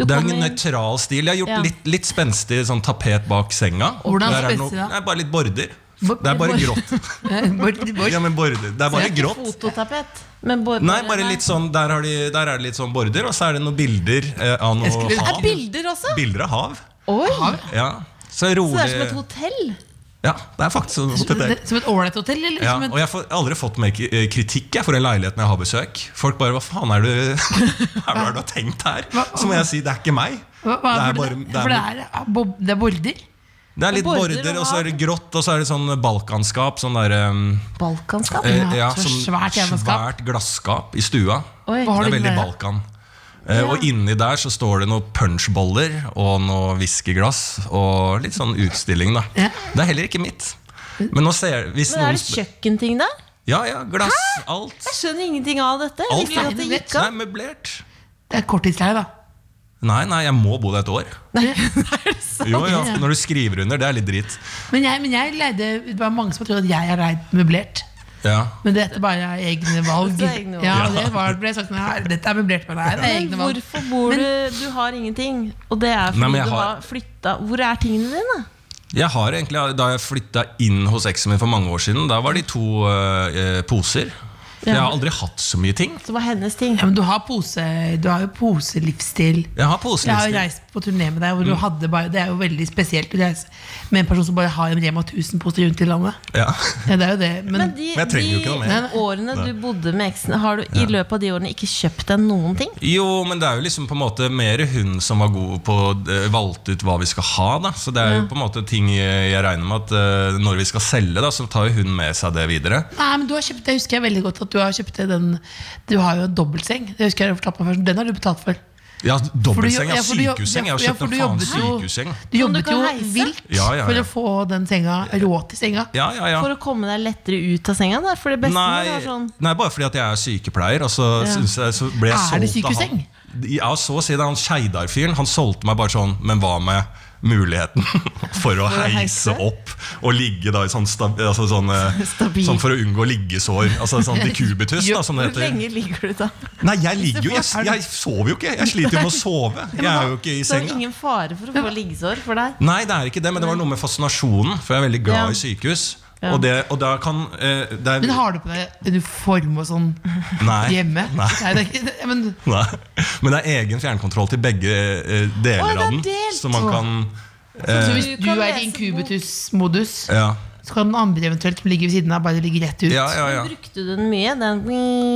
Du
det er en
kommer-
nøytral stil. Jeg har gjort
Ja.
litt, litt spenstig sånn tapet bak senga.
Hvordan
Der er det
spenstig da?
Nei, bare litt border.
Bor-
Det er bare grått.
Bård- Bård-
Ja, men border. Det er bare grått.
Fototapet. Men bo-
Nei, bare litt sånn, der, har de, der er det litt sånn border, og så er det noen bilder eh, av noe
skulle-
hav.
Er bilder også?
Bilder av hav.
Oi!
Ja. Så
Så
rolig
det er som et hotell.
Ja, det er faktisk sånn hotell.
Som et ålreit hotell? Eller?
Ja,
som et,
og jeg har fått- aldri fått mer k- eh, kritikk jeg, for den leiligheten jeg har besøk. Folk bare 'hva faen er du, hva er det du har tenkt her?' Så må jeg si 'det er ikke meg'.
hva, hva,
det, er
for
bare,
det,
det,
for det
er,
er, ah, bob- det er border?
det er litt
border
border,
og
og så er det grått, og så er det sånn balkanskap. Sånn der, um,
Balkanskap.
eh,
Ja,
ja,
så
sånn
svært jævla
svært glasskap i stua.
Oi.
Hva har
Det
du
er
med?
veldig Balkan. Eh, Og inni der så står det noen punchboller og noe whiskyglass og litt sånn utstilling, da.
Ja.
Det er heller ikke mitt. Men nå ser jeg hvis
Men er
noen
det
spør-
kjøkkenting der?
Ja, ja, glass, alt.
Jeg skjønner ingenting av dette. Jeg
Alt,
visste ikke at det
ja.
gikk an.
Nei, møblert.
Det er korttidsleie, da.
Nei, nei, jeg må bo der et år. Jo, ja, altså, Når du skriver under, det er litt drit.
Men jeg, men jeg leide Det var mange som trodde at jeg har leid møblert.
Ja.
Men dette er bare egne valg.
Det er egne valg.
Ja, det var, ble sagt sånn her, Dette er møblert, men det er
Men
egne valg.
hvorfor bor du Du har ingenting. Og det er
Nei,
fordi
men jeg
du
har-
har flytta Hvor er tingene dine?
Jeg har egentlig, Da jeg flytta inn hos eksen min for mange år siden, da var de to eh, poser. Jeg har aldri hatt så mye ting.
Som var hennes ting.
Ja, men du har, pose, du har jo poselivsstil.
Jeg har
Jeg har jo
poselivsstil.
reist på turné med deg, hvor du
Mm.
hadde bare, det er jo veldig spesielt å reise med en person som bare har en Rema 1000-pose rundt i landet.
Ja.
Ja, det er jo det. Men,
Men de,
Men jeg trenger jo ikke noe mer.
de årene du bodde med eksen, har du i løpet av de årene ikke kjøpt deg noen ting?
Jo, men det er jo liksom på en måte mer hun som var god på å eh, valgte ut hva vi skal ha. da Så det er jo på en måte ting jeg, jeg regner med at eh, når vi skal selge, da så tar jo hun med seg det videre.
Nei, men du har kjøpt, Det husker jeg veldig godt at du har kjøpt den Du har jo en dobbeltseng. Det husker jeg jeg fortalte meg først. Den har du betalt for.
Ja,
For du jo-
Dobbeltseng, ja.
ja, for du jo-
Sykehusseng. Jeg
ja,
har
ja, for
kjøpt
du
en faen
jobbet jo-
sykehusseng.
Du
Som du
jobbet
kan
jo
heise.
vilt
Ja, ja, ja.
for å få den senga, råd til senga.
Ja, ja, ja.
For å komme deg lettere ut av senga? Da? For det beste med det
Nei,
er sånn
nei, bare fordi at jeg er sykepleier. Og så, synes jeg, så ble jeg
Er det
solgt av han.
sykehuseng?
Ja, så å si det. Han Skeidar-fyren Han solgte meg bare sånn, men hva med muligheten for å heise
heise?
opp og ligge da i sånn, sta- altså sånn, eh,
Stabil.
sånn for å unngå liggesår. Altså sånn decubitus, da, som det
Hvor
heter.
lenge ligger du da?
Nei, jeg ligger jo, jeg, jeg sover jo ikke. Jeg sliter jo med å sove. Jeg er jo ikke i
Så det er
senga.
ingen fare for å få liggesår for deg?
Nei, det er ikke det, men det var noe med fascinasjonen, for jeg er veldig glad
Ja.
i sykehus.
Ja.
Og, det, og da kan eh, det er,
Men har du på deg uniform og sånn
Nei.
hjemme?
Nei.
Nei, det er ikke, det- men,
Nei. Men det er egen fjernkontroll til begge eh,
Oi, det
deler
er
av den.
delt.
Så man kan
så hvis
Du
du
kan
er
lese
i inkubitus-modus,
Eh, ja.
så kan den andre eventuelt som ligger ved siden av, bare ligge rett ut.
ja, ja, ja.
Brukte du den mye? Den...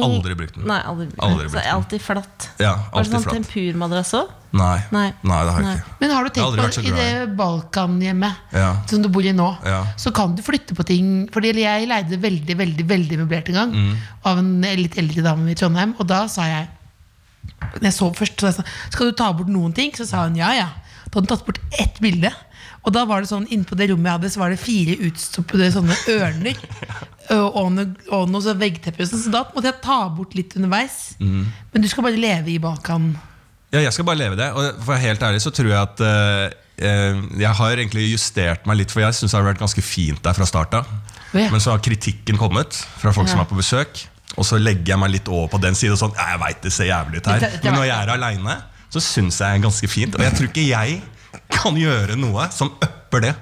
Aldri brukt den.
Nei, aldri brukt
Aldri
den.
brukt
Så
den.
alltid flatt.
Ja,
Var det
alltid
sånn
flatt.
tempurmadrass òg?
Nei. Nei,
Nei.
det har
Nei.
jeg ikke.
Men har du
Jeg
tenkt
har aldri vært
på
så
i
glad i
det Balkan-hjemmet
Ja.
som du bor i nå,
Ja.
så kan du flytte på ting. Fordi jeg leide veldig veldig, veldig møblert en gang
Mm.
av en litt eldre dame i Trondheim, og da sa jeg Når jeg sov først, så sa jeg sånn Skal du ta bort noen ting? Så sa hun ja, ja. Da hadde hun tatt bort ett bilde. Og da var det sånn, inne på det rommet jeg hadde, så var det fire utstoppede sånne ørner. Og, og, noe- og noe sånn veggteppe. og sånn, Så da måtte jeg ta bort litt underveis.
Mm.
Men du skal bare leve i Balkan.
Ja, jeg skal bare leve det. Og for å være helt ærlig så tror jeg at eh, eh, jeg har egentlig justert meg litt, for jeg syns det har vært ganske fint der fra start av.
Ja.
Men så har kritikken kommet fra folk som er på besøk. Og så legger jeg meg litt over på den siden. og Sånn, «Ja, jeg vet det ser jævlig ut her
Det- det-
Men når jeg er aleine, så syns jeg det er ganske fint. Og jeg tror ikke jeg kan gjøre noe som upper det.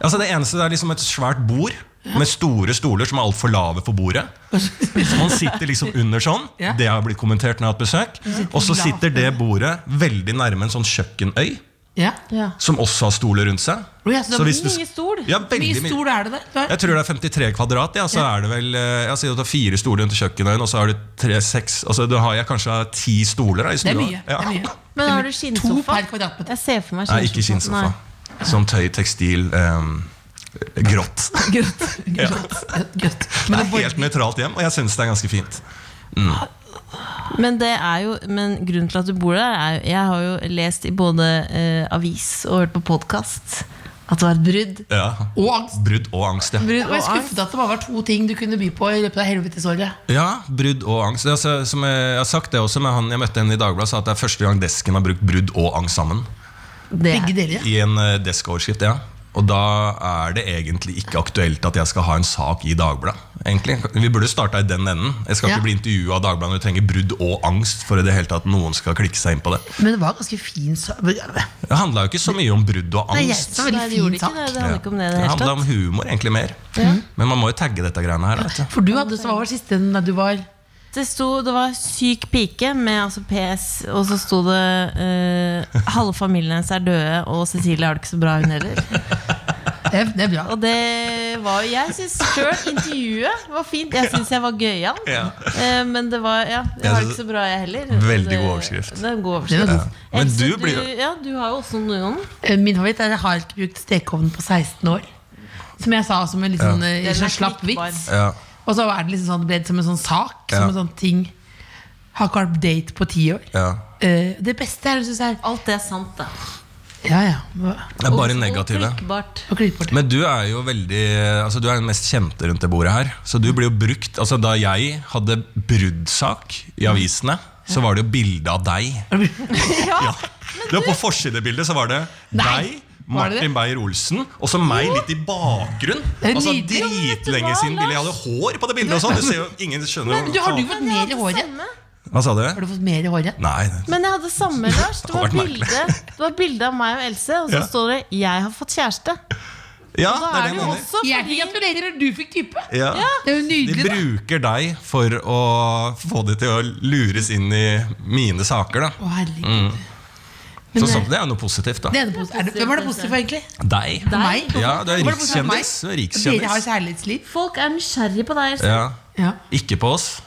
Altså Det eneste det er liksom et svært bord med store stoler som er altfor lave for bordet. Så man sitter liksom under sånn.
Ja.
Det har blitt kommentert når jeg har hatt besøk. Og så sitter det bordet veldig nærme en sånn kjøkkenøy,
Ja.
som også har stoler rundt seg.
Å ja, så det er
hvis du-
mye stol.
Ja,
Hvor
veldig
mye
mye.
stol er det der? Du er-
Jeg tror det er 53 kvadrat. Ja, så er det vel eh, Jeg sier at du har fire stoler rundt kjøkkenøyen, og så har du tre, seks Altså da har jeg kanskje ti stoler da, i
Det er
stua.
mye. Det er
Ja.
mye.
Men har du
To
skinnsofa?
per kvadratmeter.
Jeg ser for meg
Nei, ikke
Nei.
kinnsofa. Sånn tøy, tekstil, ehm, grått.
Grønt. Grønt.
Det
Men
er helt nøytralt hjem, og jeg syns det er ganske fint.
Men, det er jo, men grunnen til at du bor der, er jo Jeg har jo lest i både eh, avis og hørt på podkast at det var et brudd.
Ja.
Og angst.
Brudd og angst, ja.
Og jeg er skuffet at det bare var to ting du kunne by på i løpet av helvetesåret.
Ja, brudd og angst. Det er altså, som jeg, jeg har sagt det også med han jeg møtte henne i Dagbladet, sa at det er første gang desken har brukt brudd og angst sammen.
Det
Begge
er,
deler.
I en eh, deskoverskrift, ja. Og da er det egentlig ikke aktuelt at jeg skal ha en sak i Dagbladet. egentlig. Vi burde starta i den enden. Jeg skal
Ja.
ikke bli intervjua av Dagbladet når du trenger brudd og angst for i det hele tatt noen skal klikke seg inn på det.
Men det var ganske fin sak.
Det handla jo ikke så mye om brudd og
Nei, jeg
angst.
synes det var
Nei, det
veldig
gjorde
fin
ikke det.
sak.
Det handler ikke om det i det
Det
hele
handla
tatt.
om humor egentlig mer. Men man må jo tagge dette greiene her. da, Vet du.
For du hadde så hva var det siste da du var
Det, sto, det var 'syk pike' med altså PS, og så sto det eh, 'halve familien hennes er døde', og 'Cecilie har det ikke så bra, hun heller'.
Det er, det er bra.
Og det var Jeg syns sjøl intervjuet var fint. Jeg syns jeg var gøyal.
Ja.
Eh, Men det var Ja, jeg har det ikke så bra, jeg heller.
Veldig
Det-
god overskrift.
Det er en god
Det
overskrift.
var god.
Men
Else,
du blir jo
Ja, du har jo også noen.
Eh, Min favoritt er at jeg har ikke brukt stekeovnen på 16 år. Som jeg sa som en litt sånn, eh,
Den er
sånn slapp
klikkbar.
vits.
ja.
Og så er det liksom sånn, ble det som en sånn sak.
Ja.
Som en sånn ting Har ikke vært på date på ti år.
Ja.
Eh, Det beste er, synes jeg,
Alt det er sant, da.
Ja, ja. Hva-
Det er bare negative.
Og klikkbart.
Og klipp bort.
Men du er jo veldig Altså du er den mest kjente rundt det bordet her. Så du blir jo brukt Altså Da jeg hadde bruddsak i avisene, så var det jo bilde av deg. Ja, det var På forsidebildet så var det deg,
var det det?
Martin Beyer-Olsen, og så meg litt i bakgrunn.
er
Altså
nydelig. Ja, men
vet du
Dritlenge
hva,
siden bildet. Jeg hadde hår på det bildet og sånn. Du ser jo ingen skjønner
Men du, har du
jo
fått mer i håret?
Hva sa du?
Har du fått mer i håret?
Nei.
Men jeg hadde samme, Lars. Det var
Det hadde vært
bilde, det var bilde av meg og Else, og så
Ja.
står det 'Jeg har fått kjæreste'.
Ja,
Da
det er
er
det
det jo
jeg mener.
også fordi
Hjertelig gratulerer, du fikk type!
Ja.
Det er jo
De
nydelig, da.
bruker deg for å få de til å lures inn i mine saker, da.
Å,
Mm.
herregud.
Så sånn, det er jo noe positivt,
Det
da.
er det posi- er det, hvem var det positive for, egentlig?
Deg.
For meg?
Ja, du
Var
er
det positivt for meg?
rikskjendis. Du er
Dere har
rikskjendis.
kjærlighetsliv.
folk er nysgjerrig på deg. Else.
Ja.
Ja.
Ikke på oss.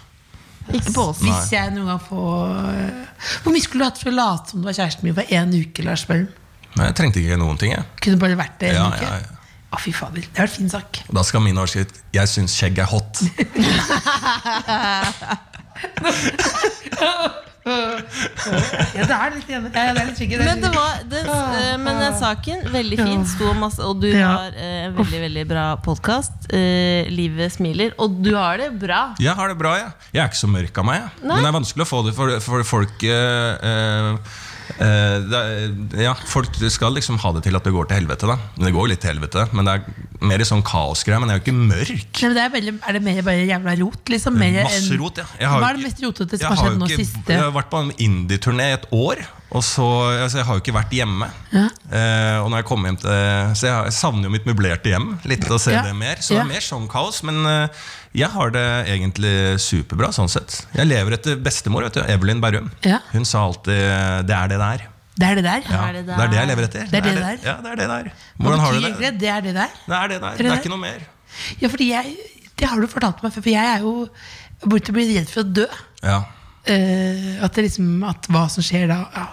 Ikke på oss.
Hvis jeg noen gang får eh, Hvor mye skulle du hatt for å late som du var kjæresten min for én uke? Lars Bøhm?
Nei, jeg trengte ikke noen ting, jeg.
Kunne bare vært det en
Ja,
uke?
ja, ja.
Å, fy fader. Det har vært fin sak.
Og Da skal min overskrift 'Jeg syns skjegg er hot'.
Ja, det er litt enig. Ja, ja, det er litt sikkert.
Men, det var, den, eh, men den saken, veldig fin, sto masse, og du
Ja.
har eh, en veldig veldig bra podkast. livet smiler, og du har det bra.
Jeg har det bra, jeg. Jeg er ikke så mørk av meg. Jeg.
Nei.
Men det er vanskelig å få det for, for folk eh, eh, eh, det er, ja, Folk skal liksom ha det til at det går til helvete. da Men Det går jo litt til helvete, men det er mer i sånn kaosgreie. Men jeg er jo ikke mørk.
Nei, men det er, veldig, er det mer bare jævla rot? Liksom, mer
Masse
enn-
rot, ja.
Hva
jo
er det
ikke-
mest rotete
jeg
som har
har
skjedd
jo
nå
ikke-
siste?
Jeg har vært på en indieturné i et år, og så altså, Jeg har jo ikke vært hjemme. Eh, og når jeg kom hjem til Så jeg, har- jeg savner jo mitt møblerte hjem litt å se
Ja.
det mer. Så
Ja.
det er mer sånn kaos. Men eh, jeg har det egentlig superbra sånn sett. Jeg lever etter bestemor, vet du. Evelyn Berrum.
Ja.
Hun sa alltid 'det er det det er'.
Det er det der.
Ja,
det
det,
det
er det jeg
er.
lever etter.
Det er det det er.
Ja, det er det det er.
Hva
Hvordan har du
betyr egentlig
det?
det? Det er det der.
Det er det det er. Det er ikke noe mer.
Ja, fordi jeg, det har du fortalt meg før, for jeg er jo borte og blir redd for å dø.
Ja.
Eh, at det liksom At hva som skjer da ja.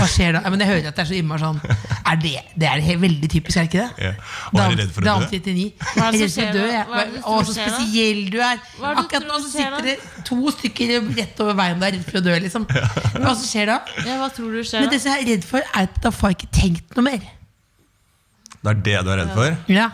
Hva skjer da? Ja, men jeg hører at det er så innmari sånn er det, det er he- veldig typisk, er det ikke det?
Ja. Og er du
Dam-
redd for å dø?
Dam 39.
Hva er det
Jeg er
som
redd for å
skjer
dø,
da?
jeg.
Hva er det du
Å,
tror
så
skjer da?
spesiell du er.
Hva er det du
Akkurat nå
tror
så
skjer da?
sitter det to stykker rett over veien og er redd for å dø, liksom. Hva som skjer da?
Ja, hva tror du skjer
Men
da?
det som jeg er redd for, er at da får jeg ikke tenkt noe mer.
Det er det du er redd for?
Ja.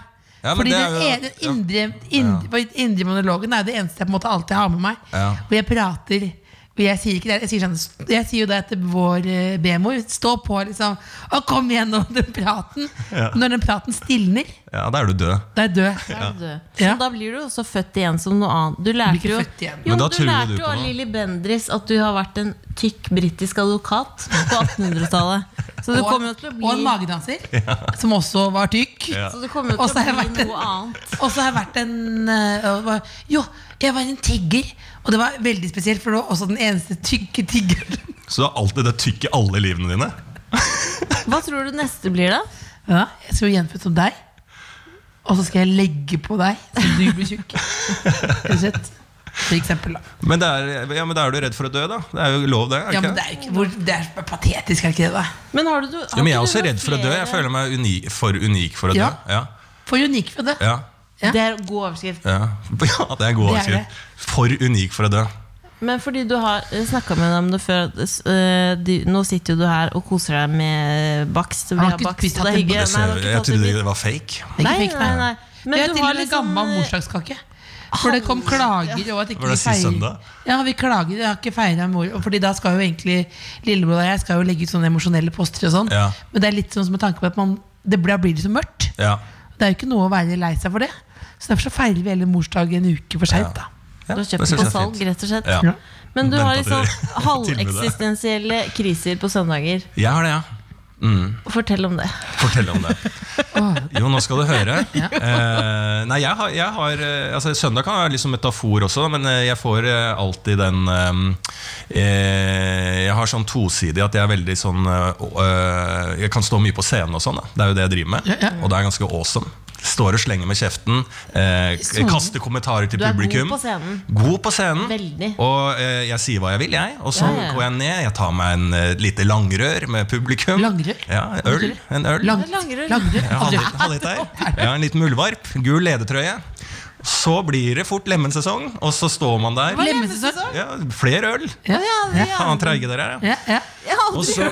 Ja, men
Fordi
det
den,
er jo-
e- den indre, indre, indre monologen er jo det eneste jeg på en måte alltid har med meg.
Ja.
Hvor jeg prater hvor jeg sier, ikke det, jeg, sier sånn, jeg sier jo det til vår eh, B-mor. Stå på, liksom. Og kom gjennom den praten.
Ja.
Når den praten stilner,
Ja, da er du død.
da er jeg død.
Er du død? Så
Ja.
da blir du også født igjen som noe annet. Du lærte
ikke
jo,
født igjen.
jo,
Men da
du
tror jo
lærte
du
jo
på
av
noe.
Lilly Bendriss at du har vært en tykk britisk advokat på 1800-tallet. Så du
Og,
kommer jo til å
og en
bli,
magedanser, som også var tykk.
så du kommer jo
Og så
til
har jeg
å
vært
bli
en-
noe annet.
Og så har jeg vært en eh, og var- Jo, jeg var en tigger. Og det var veldig spesielt, for det var også den eneste tykke tiggeren.
Så du har alltid det tykk i alle livene dine?
Hva tror du neste blir, da?
Ja, jeg skal bli gjenfødt som deg. Og så skal jeg legge på deg så du blir tjukk. Rett og slett. For eksempel, da.
Men, det er, ja, men da er du redd for å dø, da. Det er jo lov, det. Er
Ja,
ikke?
men det er jo ikke hvor, Det er patetisk, er det ikke det? da?
Men har du, har
ja, men
ikke
jeg er
du
også
noen
redd for å dø. Jeg
flere-
føler meg uni, for unik for å dø.
Ja.
Ja,
For unik for det.
ja,
Ja.
Det er god overskrift.
ja. ja det er en god
Det er det.
overskrift. For unik for å dø.
Men fordi du har snakka med deg om det før at, eh, du, Nå sitter jo du her og koser deg med bakst. Vi
har
har
ikke
bakst,
spist
og det
hatt
er
en-
hyggelig. Nei,
Det ser,
du har ikke
jeg
tatt en
trodde
bit.
det var fake.
Det er
Nei,
ikke fake,
nei,
nei.
nei. Men
Vi har
du
til og
har
med
liksom
gammel morsdagskake. For det kom klager over at ikke
Var det
vi
sist
feirer-
søndag?
Ja, vi klager. Jeg har ikke feira mor. og Fordi da skal jo egentlig lillebror og jeg skal jo legge ut sånne emosjonelle poster og sånn.
Ja.
Men det er litt sånn som en tanke på at man, det blir, da blir det så mørkt.
Ja.
Det er jo ikke noe å være lei seg for det. Så derfor så feirer vi hele morsdag en uke for seint. da.
Ja,
Du har
det
kjøpt
synes
den på
jeg er
salg,
fint.
rett og slett.
Ja.
Men du
Vent
har
at dere-
liksom
tilbudet.
halveksistensielle kriser på søndager.
Jeg har det, ja.
Fortell om det.
Fortell om det. Jo, nå skal du høre. Eh, nei, jeg har, jeg har eh, altså, Søndag kan være liksom metafor også, men eh, jeg får eh, alltid den eh, eh, Jeg har sånn tosidig at jeg er veldig sånn eh, eh, Jeg kan stå mye på scenen og sånn. Da. Det er jo det jeg driver med, og det er ganske awesome. Står og slenger med kjeften, eh, k- kaster kommentarer
Sånn.
til
Du er god
publikum.
på scenen.
God på scenen.
Veldig.
Og eh, jeg sier hva jeg vil, jeg. Og så
Ja, ja.
går jeg ned, jeg tar meg en eh, lite langrør med publikum.
Langrør?
Ja, øl. En øl.
Lang,
Det er langrør.
langrør.
Ja, halv liter- halv liter. Ja, en liten muldvarp. Gul ledetrøye. Så blir det fort lemmensesong, og så står man der.
Lemmesesong.
Ja, flere øl!
Ja,
Ja,
Faen, treige dere er. ja.
ja, ja.
ja,
Og så,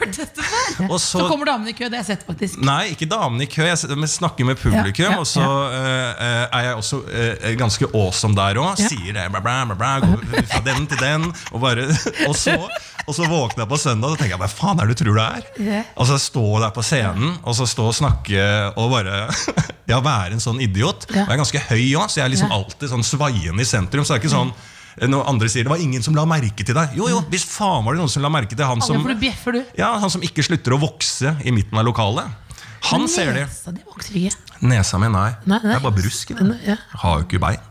og
Så
så
kommer damene i kø. Det har jeg sett, faktisk.
Nei, ikke damene i kø. Jeg s- men snakker med publikum.
Ja, ja,
og så eh, er jeg også eh, ganske awesome der òg. Sier det. Bla, bla, bla, bla, går fra den til den. Og, bare, og, så, og så våkner jeg på søndag og tenker jeg, hva faen er det du tror det er? Og så stå der på scenen og så stå og snakke og bare Ja, være en sånn idiot. Og jeg er ganske høy òg, så jeg er liksom alltid sånn svaiende i sentrum. Så det er ikke sånn eh, når andre sier det var ingen som la merke til deg. Jo, jo, hvis faen var det noen som la merke til han
Ja,
som
for du bjeffer, du.
ja, han som ikke slutter å vokse i midten av lokalet. Han ser det.
Nesa di vokser ikke.
Nesa mi, nei.
Nei, nei.
Det er bare brusk. i den.
Ja.
Har jo ikke bein.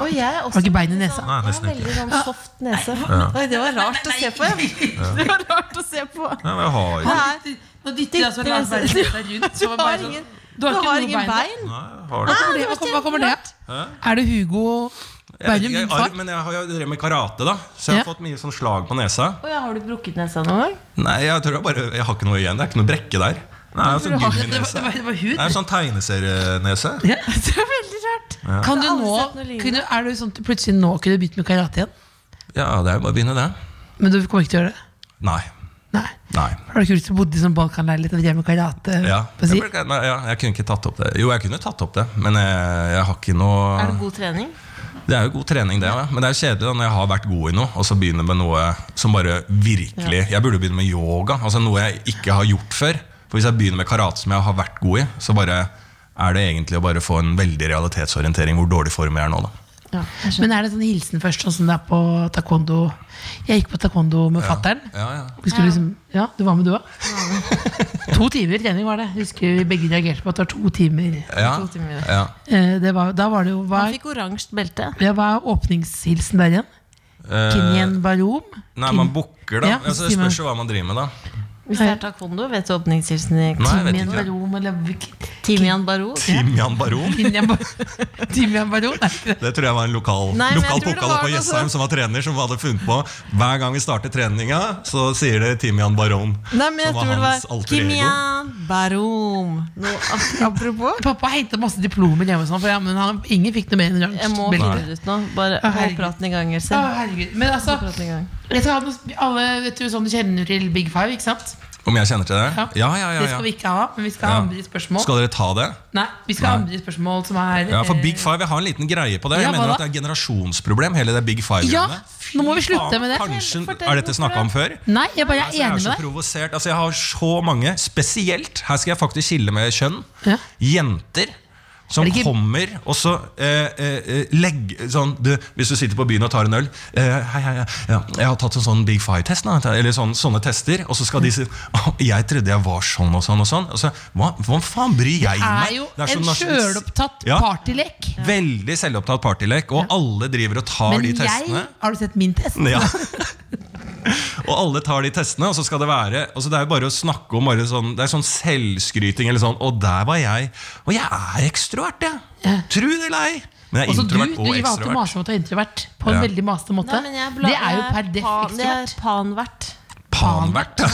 Og jeg er også
Har ikke bein i nesa.
Nei,
jeg har
nesten ikke.
veldig sånn soft nese. Oi, det var rart å se på. ja. Det var rart å se på.
Nei, men jeg har jo
Nei,
Nå dytter jeg altså
Dytter jeg
Lars Berrum seg rundt.
Du
så var det bare
har
sånn-
ingen,
Du har
du
ikke
har
noe
ingen
bein.
bein.
Nei, jeg har det.
Hva kommer det- Hva kommer det av? Er det Hugo
Jeg,
Berrum,
jeg,
min
arv,
far?
men jeg har jo drevet med karate, da. Så jeg
Ja.
har fått mye sånn slag på nesa.
Å ja, har du brukket nesa noen gang?
Nei, jeg tror jeg bare Jeg har ikke noe igjen. Det er ikke noe brekke der. Nei, jeg har sånn gumminese.
det var
Det er sånn tegneserienese.
Det er veldig rart.
Kan du
Jeg har aldri
nå,
sett noe lignende.
kunne, er det sånn at du plutselig nå kunne begynt med karate igjen?
Ja, det er jo bare å begynne, det.
Men du kommer ikke til å gjøre det?
Nei.
Nei.
Nei.
Har du ikke lyst til å bodde i sånn balkanleilighet og drevet med karate?
Ja.
på
Jeg,
si?
ble- nei, ja, jeg kunne ikke tatt opp det. Jo, jeg kunne tatt opp det, men jeg, jeg har ikke noe
Er det god trening?
Det er jo god trening, det. Ja. Men det er jo kjedelig da når jeg har vært god i noe, og så begynner med noe som bare virkelig Jeg burde begynne med yoga, altså noe jeg ikke har gjort før. For hvis jeg begynner med karate som jeg har vært god i, så bare er det egentlig å bare få en veldig realitetsorientering hvor dårlig form jeg er nå, da.
Ja, jeg skjønner.
Men er det sånn hilsen først, sånn som det er på taekwondo? Jeg gikk på taekwondo med fatteren.
Ja, ja.
Vi skulle liksom, ja, du var med du òg? to timer trening var det. Husker vi begge reagerte på at det var to timer.
Ja,
To timer.
ja.
Eh, det var, da var det jo hva,
Han fikk oransje belte.
ja, hva er åpningshilsen der igjen? Kinyen Barom?
Eh, Nei, man booker, da.
Ja,
altså, det
sier man.
spørs jo hva man driver med, da.
Hvis det er taekwondo, vet du åpningshilsen i
Nei, jeg vet
Kinyen
ikke.
Barom eller hvilken-
Timian Baro?
Timian Baron.
Kinyen Bar- Kinyen Barom? Er ikke det?
Det tror jeg var en lokal,
Nei, men jeg
lokal
tror det
pokal
var
på
noe
Jessheim
sånt.
som var sånn- trener, som hadde funnet på hver gang vi starter treninga, så sier det Timian Baron.
Nei, men jeg
som
tror det
hans
var
alter ego.
Kimian Barom. Nå, ap- apropos
Pappa henta masse diplomer hjemme, og sånn, for ja, men han, ingen fikk noe mer enn
Jeg må
oransje.
finne det ut nå. Bare
Å,
hold
herregud.
praten i gang,
Å,
Else.
herregud. Men altså,
Hold praten i gang.
jeg skal ha noe, alle vet du sånn du kjenner til Big Five, ikke sant?
Om jeg kjenner til det?
Ja.
Ja, ja, ja,
Det skal vi
ja.
ikke ha, men vi skal ha
Ja.
andre spørsmål.
Skal dere ta det?
Nei, vi skal ha
Nei.
andre spørsmål som er
Ja, for
eh,
Big Five, Jeg har en liten greie på det.
Ja,
Jeg mener
hva
at Det er generasjonsproblem. hele det Big Five
Ja, nå må vi slutte med det.
Kanskje,
Fortell
Er dette
hvorfor
snakka om før?
Nei, jeg bare er
Altså, jeg er
enig
så
med deg.
provosert. Altså, jeg har så mange, spesielt Her skal jeg faktisk skille med kjønn.
Ja.
Jenter. Som
Er det ikke-
kommer og så eh, eh, eh, legg, sånn, du, Hvis du sitter på byen og tar en øl eh, hei, hei, hei, ja, 'Jeg har tatt en sånn Big Five-test.' nå», Eller sånn, sånne tester. Og så skal de si «Å, 'Jeg trodde jeg var sånn og sånn.' og sånn og så, hva, hva faen bryr
Det
jeg meg?
er jo
Det er så
en
nasjonal-
sjølopptatt
Ja.
partylek.
Veldig selvopptatt partylek, og alle driver og tar
Men
de
jeg
testene.
Har du sett min test?
Ja. og alle tar de testene, og så skal det være altså Det er jo bare å snakke om bare sånn, Det er sånn selvskryting eller sånn 'Og der var jeg.' Og jeg er ekstrovert, jeg! Tro det eller ei! Men jeg er
Også du,
introvert
du
og
valgte å
ekstrovert.
mase om at du er introvert på en
Ja.
veldig masete måte.
Nei, men jeg bla-
det er jo
jeg
per def
pan- Det er
ekstrovert.
panvert.
Panvert. da.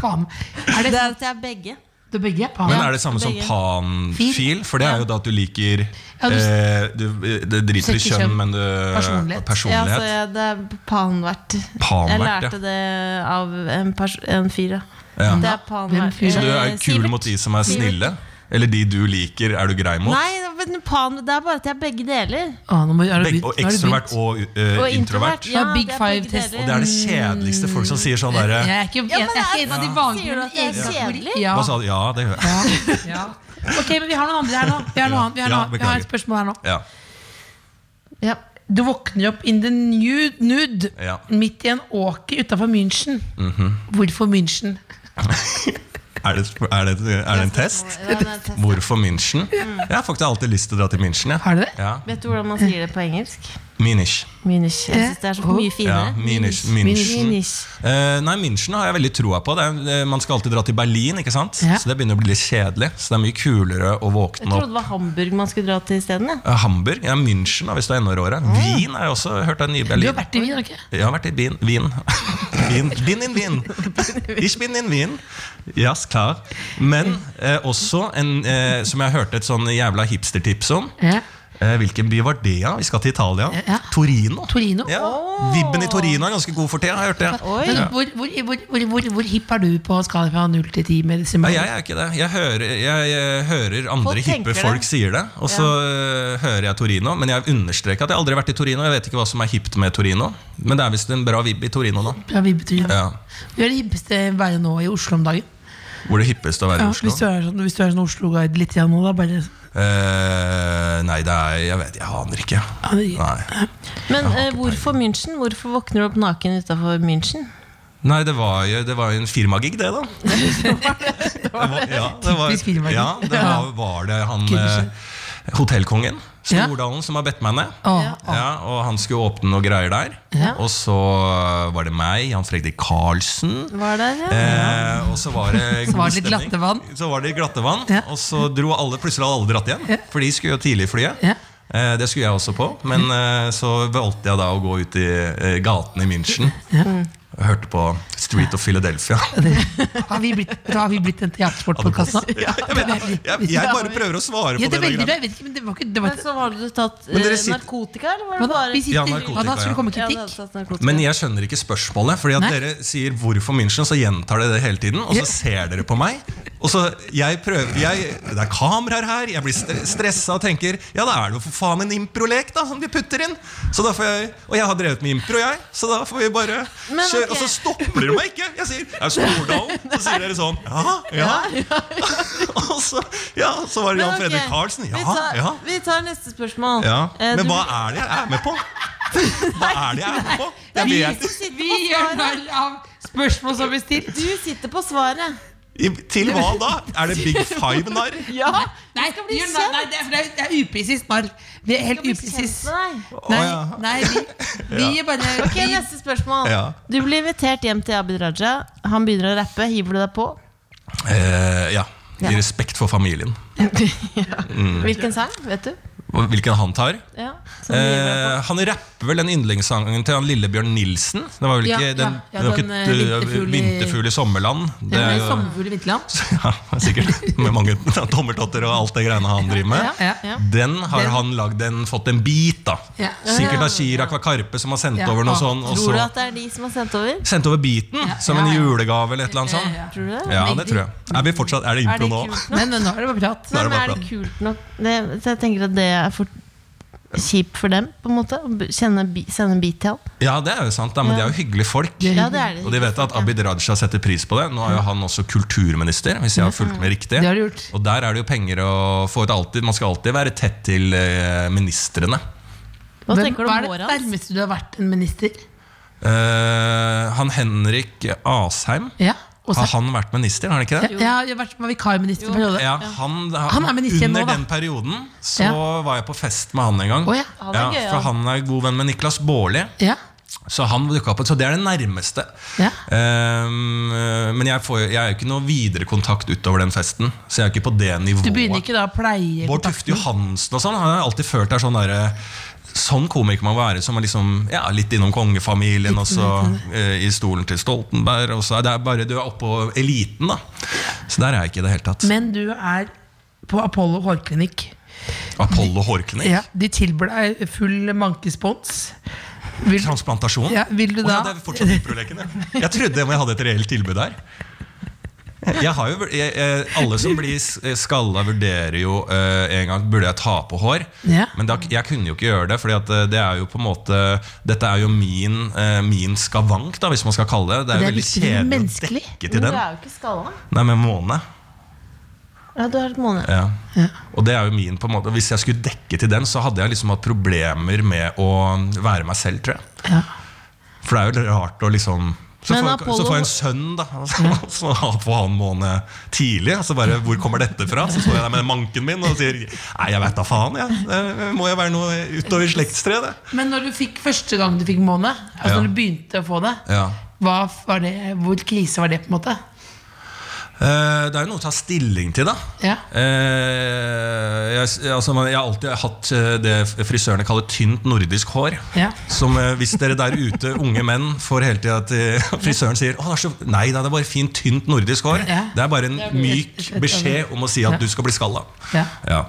Faen. Er det,
Det er at jeg er begge.
det er begge? Faen.
Men er det samme som
begge.
panfil? For det er jo da at du liker
Ja, du-
eh, du, Det driter i
Setter
kjønn,
kjønn.
men du
Personlighet.
Ja, så
Personlighet.
jeg, det er panvert. Jeg
Panvert, ja.
lærte det av en, pers en fyr, ja.
Ja.
Det er
Hvem
panvert.
fyr?
Så du er
Eh,
kul
Sivert.
mot de som er snille? Eller de du liker, er du grei mot?
Nei, men pan, det er bare at jeg er begge deler.
Å, Ah, nå må, er det
Begge,
begynt-
og
nå er det begynt.
ekstrovert og, eh,
Og introvert.
introvert.
Ja,
Og Big
det er
Five
begge
test.
deler.
Og det er det kjedeligste folk som sier sånn derre
Jeg er ikke, jeg,
Ja, men
jeg er ikke
det
en
er-
av de
Sier
vanlige.
du
men
at det er
jeg-
kjedelig?
Ja.
Hva sa du? Ja, det gjør jeg.
ja. Ok, men vi har noen andre her nå. Vi har, noe
Ja.
annet. Vi har,
Ja,
noe, annet. vi har
beklager.
et spørsmål her nå.
Ja.
Ja.
Du våkner opp in the nude, nude
Ja. Mhm.
midt i en åker utafor München. Hvorfor München?
Er, det, er, det, er det en test?
Ja, det er test.
Hvorfor München? Jeg har faktisk alltid lyst til å dra til München. jeg.
Har du det?
Ja.
Mm. Vet du hvordan man sier det på engelsk?
Münich.
Minish. Jeg synes det er så mye
Ja,
finere.
Münich. München.
Minish.
Eh, nei, München har jeg veldig troa på. Det er, eh, man skal alltid dra til Berlin, ikke sant?
Ja.
så det begynner å bli litt kjedelig. Så det er mye kulere å
Jeg
våkne
trodde
opp.
det var Hamburg man skulle dra til isteden. jeg.
Eh, Hamburg, ja, München da, hvis du er NR-året. Wien har jeg også hørt er den nye
Du
Berlin.
har vært i Wien, har du ikke?
Jeg har vært i Wien. Wien. Wien. Bin in Wien. Ich bin in Wien. Ja, yes, klar. Men eh, også en eh, som jeg hørte et sånn jævla hipstertips om.
Ja.
Eh, Hvilken by var det, da? Vi skal til Italia.
Ja.
Torino.
Torino.
Ja. Vibben i Torino er ganske god for tida, har jeg hørt det.
Men Hvor, hvor, hvor, hvor, hvor, hvor hipp er du på skala fra 0 til 10 med
Nei,
desimal?
jeg er ikke det. Jeg hører, jeg, jeg hører andre
Folk
hippe
tenker det.
folk sier det, og så øh, hører jeg Torino. Men jeg understreker at jeg aldri har vært i Torino. Jeg vet ikke hva som er hipt med Torino, men det er visst en bra vibb i Torino nå.
Fra Vibbetorino.
Ja.
Du er det hippeste været nå i Oslo om dagen.
Hvor det hippeste å være
Ja,
i
hvis, du
Oslo?
er sånn, hvis du er sånn Oslo-guide litt igjen nå, da bare
Eh, nei, det er Jeg vet, jeg aner ikke.
Aner ikke.
Nei.
Men eh, hvorfor München? Hvorfor våkner du opp naken utafor München?
Nei, det var jo, det var jo en firmagig, det, da. det var, ja, det var,
Typisk firmagig.
ja, det var, var det han eh, hotellkongen,
Ja.
Stordalen, som har bedt meg ned.
Å,
Ja, og han skulle åpne noen greier der. Og så eh, var det meg, Jan Fredrik Karlsen.
Var det det?
Eh, og så var det
var det
god
litt
stemning.
glatte vann.
Så var det glatte vann
Ja.
Og så dro alle plutselig hadde alle dratt hjem, for de skulle jo tidlig i flyet.
Ja. Mm.
Eh, det skulle jeg også på, men eh, så valgte jeg da å gå ut i eh, gatene i München. Og hørte på Street of Philadelphia.
Har vi blitt, da har vi blitt en teatersportpodkast nå?
Jeg, vet, jeg, jeg bare prøver å svare
Ja, det
på det.
er veldig
der
bra.
greiene.
Jeg vet ikke, men det var ikke det var,
Men så hadde du tatt
Men dere
eh,
sitter-
narkotika, eller var
hva
det
da?
bare
Vi sitter,
Ja, narkotika,
hva da skulle det komme
Ja, du hadde
kritikk?
tatt narkotika.
Men jeg skjønner ikke spørsmålet. Fordi at
Nei.
Dere sier 'hvorfor München', så gjentar dere det hele tiden. Og så ser dere på meg. Og så jeg prøver, jeg, Det er kameraer her, jeg blir stre- stressa og tenker 'ja, da er det jo for faen en improlek da, som de putter inn'. Så da får jeg, Og jeg har drevet med impro, jeg. Så da får vi bare
Men
kjøre.
ok.
Og så stopper dere meg ikke! Jeg sier 'er Stordalen', så sier dere sånn 'ja, ja'. og så, ja, så var det
Men
Jan
ok,
Fredrik Karlsen. Ja,
vi tar,
ja.
Vi tar neste spørsmål.
ja.
Eh,
Men
du-
hva er det jeg er med på? Hva er det jeg er med på? Jeg
Vi
vet ikke.
sitter
Vi
på
gjør
svaret.
narr av spørsmål som blir stilt.
Du sitter på svaret.
I, til hva da? Er det Big Five narr?
Ja,
Nei,
skal bli
gjør narr-
kjent.
nei det, er, det er- det er upresist narr. Vi er helt
bli kjent
upresist.
med deg.
Å,
Nei,
ja.
nei vi, vi er bare
Ok,
vi,
Neste spørsmål.
Ja.
Du blir invitert hjem til Abid Raja. Han begynner å rappe. Hiver du deg på?
Eh, ja. I respekt for familien.
Hvilken sang? Vet du?
Og Hvilken han tar.
Ja, som du hiver deg på.
Eh, han rapper vel den yndlingssangen til han Lillebjørn Nilsen. Det var vel
Ja,
ikke
ja.
den,
Ja,
det var
den,
ikke,
eh, vinterfugl i-
Vinterfugl i sommerland. Det er jo
Sommerfugl i vinterland.
ja, sikkert med mange tommeltotter og alt det greiene han driver med.
Ja, ja.
Den har han lagd en, fått en bit da.
Ja.
Sikkert av Chirag og Karpe som har sendt
Ja.
over noe
Ah,
sånn. Og
Tror du
så
at det er de som har sendt over?
sendt over biten som en
ja, ja.
julegave eller et eller annet sånt.
Tror du det?
Ja, det tror jeg. Er, vi fortsatt, er det
Er det
impro nå?
kult nok?
Men men nå er det bare prat.
Nå er
Men
det bare
er det
prat.
kult nok? Det, så jeg tenker at det er for kjipt for dem, på en måte. Å b- kjenne bi- Sende en bit til han.
Ja, det er jo sant, da, men de er jo hyggelige folk.
Ja, det er det.
Og de vet at Abid Raja setter pris på det. Nå er jo han også kulturminister, hvis jeg har fulgt med riktig.
Det har du gjort.
Og der er det jo penger å få ut alltid. Man skal alltid være tett til eh, ministrene.
Hva
Hvem-
tenker du
hva er
om
det
håret hans?
nærmeste du har vært en minister?
Eh, han Henrik Asheim,
Ja, også.
har han vært minister, har han ikke det?
Ja, jeg har vært var vikarminister i en periode.
Ja, han,
Han er minister
Under
nå, da.
den perioden så
Ja.
var jeg på fest med han en gang.
Å, ja.
Han er gøy,
altså.
for han er god venn med Niklas Baarli.
Ja.
Så han dukket opp, så det er det nærmeste.
Ja.
Ehm, men jeg, får, jeg er jo ikke noe videre kontakt utover den festen. Så jeg er ikke på det nivået.
Du begynner ikke da å pleie
Bård Tufte Johansen og sånn, han har jeg alltid følt er sånn derre Sånn komiker man må være, som er liksom, ja, litt innom kongefamilien, og så eh, i stolen til Stoltenberg. Og så, er det er bare Du er oppå eliten, da. Så der er jeg ikke i det hele tatt.
Men du er på Apollo hårklinikk.
Apollo hårklinikk.
De tilbyr deg full mankespons. Vil,
Transplantasjon.
ja, vil du
Å ja,
da
det er fortsatt improleken, ja. Jeg trodde jeg hadde et reelt tilbud der. Jeg har jo, jeg, jeg, alle som blir s- eh, skalla, vurderer jo eh, en gang Burde jeg ta på hår.
Ja.
Men da, jeg kunne jo ikke gjøre det, for det er jo på en måte Dette er jo min, eh, min skavank, da, hvis man skal kalle det. Det er jo
Det er
veldig
viktig, det er
kjedelig å
menneskelig.
dekke
Men
til
du
den.
er jo ikke skalla.
Nei, med måne.
Ja, du er et måned.
Ja. Og det er jo min på en måte Hvis jeg skulle dekke til den, så hadde jeg liksom hatt problemer med å være meg selv, tror jeg.
Ja.
For det er jo rart å liksom så
Men
får,
Apollo-
så får jeg en sønn, da. Så har på han måned tidlig. Og så bare 'Hvor kommer dette fra?' Så står jeg der med manken min og sier 'Nei, jeg veit da faen, jeg. Det må jo være noe utover slektstreet', det.
Men når du fikk første gang du fikk måne, altså
Ja.
når du begynte å få det,
Ja.
hva var det, hvor krise var det? på en måte?
Eh, Det er jo noe å ta stilling til, da.
Ja.
Eh, jeg, altså, man- jeg har alltid hatt eh, det frisørene kaller tynt nordisk hår.
Ja.
Som eh, hvis dere der ute, unge menn, får hele tida at eh, frisøren sier Å, det er så, Nei da, det er bare fint, tynt nordisk hår.
Ja.
Det er bare en myk
et- et-
beskjed om å si at
Ja.
du skal bli skalla.
Ja.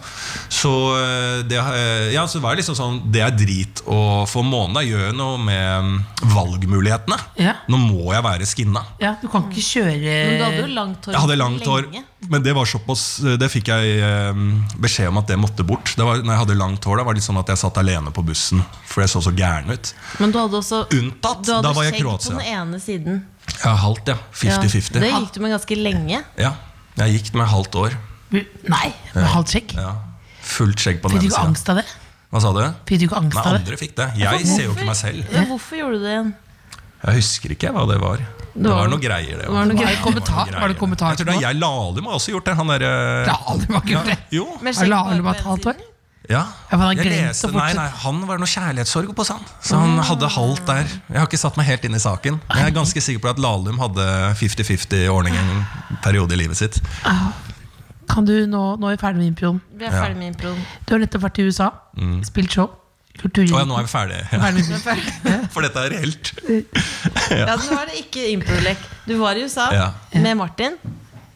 Så eh, det, eh, ja, så var det liksom sånn Det er drit å få månen. da. Gjør noe med mm, valgmulighetene.
Ja.
Nå må jeg være skinna.
ja, du kan ikke kjøre
Men du hadde jo langt hår
Jeg hadde langt hår,
lenge.
men det var såpass Det fikk jeg eh, beskjed om at det måtte bort. Det var, når jeg hadde langt hår, da var det litt sånn at jeg satt alene på bussen, for jeg så så gæren ut.
Men du hadde også
Unntatt,
du hadde
da var jeg
skjegg
Kroatia.
på den ene siden.
Ja, halvt, ja.
Ja,
50-50.
Det
Ja,
gikk du med ganske lenge.
Jeg gikk med halvt år.
Nei, med halvt skjegg.
Ja. Fullt skjegg på
Fikk
den
du ikke
ene siden.
angst av det?
Hva sa du?
Fikk du ikke angst
Nei,
av det?
andre fikk det. Jeg ser jo ikke meg selv.
Men hvorfor gjorde du det igjen?
Jeg husker ikke hva det var. Det
var-
var noe greier, det.
var noe greier.
Kommentar?
noe
Var det
greier.
kommentar
Jeg tror det
til
er jeg Lali må ha også gjort det. Han derre
Ja, det var ikke det.
Jo.
Har
Med skjegg
Lahlum
bare
hatt
på den
halvt hår?
siden?
Ja.
Ja, for han
Jeg
glemte
leste,
å
nei,
fortsette.
nei, han var noe kjærlighetssorg på sand. Så han hadde halvt der. Jeg har ikke satt meg helt inn i saken. Men Jeg er ganske sikker på at Lahlum hadde 50-50-ordning en periode i livet sitt.
Kan du nå, nå er vi ferdig med improen.
Vi er ferdig med improen.
Du har nettopp vært i USA, spilt show. Kultur
Mm. Å ja, nå er vi ferdige.
Ferdig med improen.
Ja, for dette er reelt.
Ja, du var det ikke improlek. Du var i USA
Ja. Mm.
med Martin.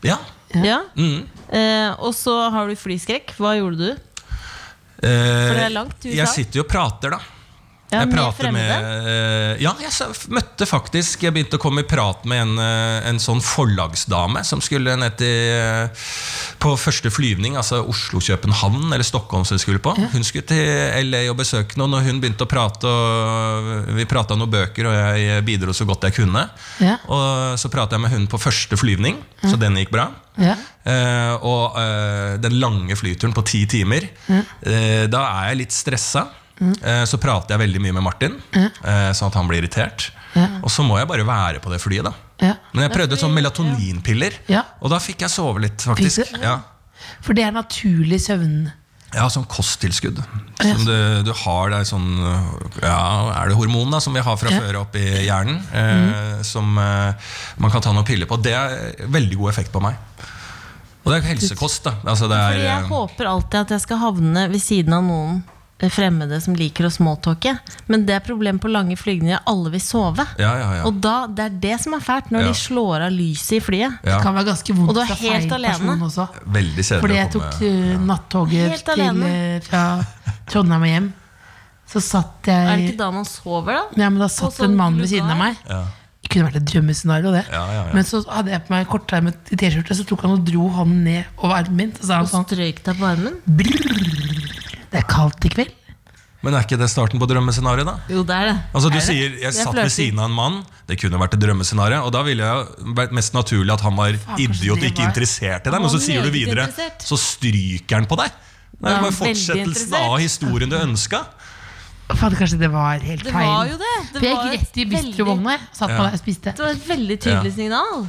Ja.
Ja. Eh, og så har du flyskrekk. Hva gjorde du?
For
det er langt til USA.
Eh, Jeg sitter jo og prater, da.
Ja,
jeg
med
prater med,
fremmede?
eh, Ja, jeg s- møtte faktisk Jeg begynte å komme i prat med en, eh, en sånn forlagsdame som skulle ned til eh, På første flyvning, altså Oslo-København eller Stockholm som hun skulle på. Hun skulle til LA og besøke noen, og hun begynte å prate, og vi prata noen bøker, og jeg bidro så godt jeg kunne.
Ja.
Og så prata jeg med hun på første flyvning, så den gikk bra.
Ja.
Eh, og eh, den lange flyturen på ti timer. eh, da er jeg litt stressa. Eh, så prater jeg veldig mye med Martin, eh, sånn at han blir irritert. Og så må jeg bare være på det flyet, da.
Ja.
Men jeg prøvde sånn melatoninpiller,
Ja.
og da fikk jeg sove litt,
Fikk
faktisk.
du?
Ja.
For det er naturlig søvn.
Ja, sånn kosttilskudd. Som du, du har der sånn Ja, er det hormon da, som vi har fra før opp i hjernen? Eh,
Mhm.
Som eh, man kan ta noen piller på. Det er veldig god effekt på meg. Og det er helsekost, da. Altså, det er,
Fordi jeg
eh,
håper alltid at jeg skal havne ved siden av noen eh, fremmede som liker å småtalke. Men det er problemet på lange flygninger. Alle vil sove.
Ja, ja, ja.
Og da, det er det som er fælt, når
Ja.
de slår av lyset i flyet.
Det
Ja.
kan være ganske vondt
Og du er
fra
helt
feil
alene.
person også.
Veldig
Fordi
kjedelig
jeg
å
tok
komme
eh, nattoget
Helt
til,
alene.
eh, fra Trondheim og hjem. Så satt jeg
Er det ikke da man sover, da?
Ja, men da satt
sånn
en mann ved siden av
lugar?
meg. Det kunne vært et drømmescenario, det.
Ja, ja, ja.
Men så hadde jeg på meg kortermet T-skjorte, så tok han og dro hånden ned over armen min. Så sa han
Og
sånn
strøyk deg på armen?
Det er kaldt i kveld.
Men er ikke det starten på drømmescenarioet, da?
Jo, det er det.
Altså Du sier jeg
Det er
satt ved
flørting.
siden av en mann, det kunne vært et drømmescenario. Og da ville jeg vært mest naturlig at han var
kanskje
idiot og
det
ikke
var-
interessert i deg.
Han
Men så
var
sier du
meget
videre,
interessert.
så stryker han på deg. Det er
Ja,
jo bare
veldig
fortsettelsen
interessert.
av historien du ønska.
Fader, kanskje det var helt
Det
feil.
var jo det. Det
For jeg
var
gikk
et
rett i
veldig-
bistrovogna. jeg. Satt på
Ja.
der og spiste.
Det var et veldig tydelig signal.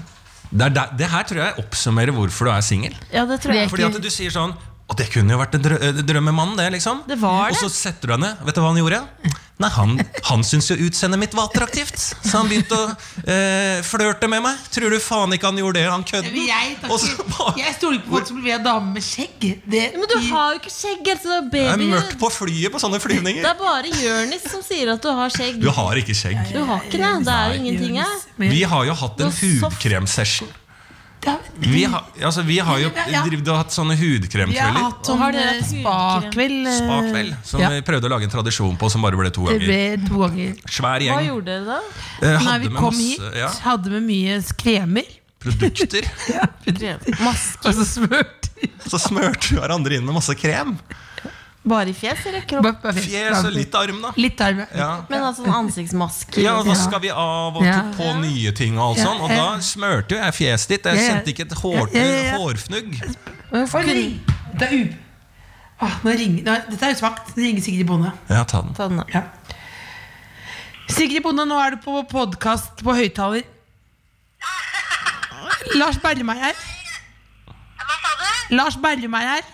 Det, er der, det her tror jeg oppsummerer hvorfor du er singel.
Ja, det tror jeg.
Fordi at du sier sånn Og det kunne jo vært en drø eh, drømmemann, det, liksom.
Det var
Og
det.
så setter du deg ned. Vet du hva han gjorde? Nei, Han, han syntes jo utseendet mitt var attraktivt, så han begynte å eh, flørte med meg. Tror du faen ikke han gjorde det, han kødden?
Jeg,
Og så bare-
stoler ikke på folk som vil være dame med skjegg. Det,
Men du har jo ikke skjegg. Altså,
Det er
baby.
mørkt på flyet på sånne flyvninger.
Det er bare Jørnis som sier at du har skjegg.
Du har ikke skjegg.
Du har ikke det. Det er jo ingenting her.
Vi har jo hatt
Du
en
har soft.
hudkremsession.
jeg
Vi, har- altså, vi har jo
Ja.
drevet og hatt sånne
har
hudkremkvelder.
hatt sånn
Har dere
eh,
hudkrem?
spakveld. eh,
Spakveld, som
ja.
vi prøvde å lage en tradisjon på, som bare ble to
Det ble
ganger.
to ganger.
Svær
Hva
gjeng.
gjorde dere da?
Eh,
Nei,
Hadde
vi
med
kom hit,
masse ja,
hadde med mye kremer.
produkter.
Maske
Og så smurt.
Så smørte vi hverandre inn med masse krem.
bare i fjes eller kropp?
Bare- bare fint.
Fjes og litt arm, da.
Litt arm.
Ja.
Men altså sånn ansiktsmaske
Ja, vaska vi av og
Ja.
tok på nye ting. Og alt sånn Og da smørte jo jeg fjeset ditt. Jeg
Ja, ja.
kjente ikke et hår,
Ja, ja, ja.
hårfnugg.
Hvorfor ring- Det er u... Åh, nå ringer... Nå, dette er jo svakt. Det ringer Sigrid Bonde.
Ja, ta den.
Ta den av.
Ja. Sigrid Bonde, nå er du på podkast på høyttaler. Lars Berremeier her.
Hva sa du?
Lars Berremeier her.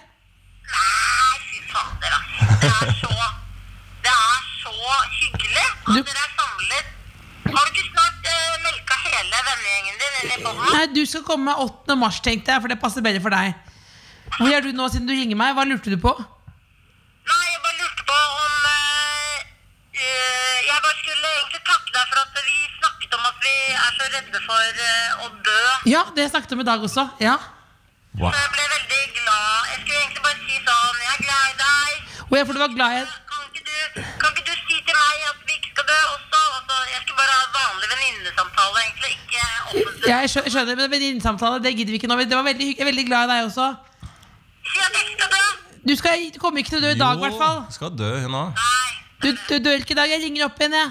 Nei, fy fader, altså. Det er så, det er så hyggelig at dere er samlet. Har du ikke snart eh, melka hele vennegjengen din inn i bånn?
Nei, du skal komme 8. mars, tenkte jeg, for det passer bedre for deg. Hvor er du nå siden du ringer meg? Hva lurte du på?
Nei, jeg bare lurte på om eh, eh, Jeg bare skulle egentlig takke deg for at vi snakket om at vi er så redde for eh, å dø.
Ja, det snakket vi om i dag også. Ja.
Wow.
Så jeg ble veldig glad. Jeg skulle egentlig bare si sånn Jeg er glad i deg.
Og jeg, for du var glad i
Kan ikke, du, kan ikke du si til meg at vi ikke skal dø også? Altså, jeg skulle bare ha vanlig venninnesamtale, egentlig. Ikke offentlig.
Jeg skjø- skjønner, men venninnesamtale, det gidder vi ikke nå. Det var veldig hyggelig. Jeg er veldig glad i deg også.
Si at jeg ikke skal dø.
Du skal, kommer ikke til å dø i dag, i hvert fall.
Jo, skal dø hun òg.
Nei.
Du, du dør ikke i dag. Jeg ringer opp igjen, jeg.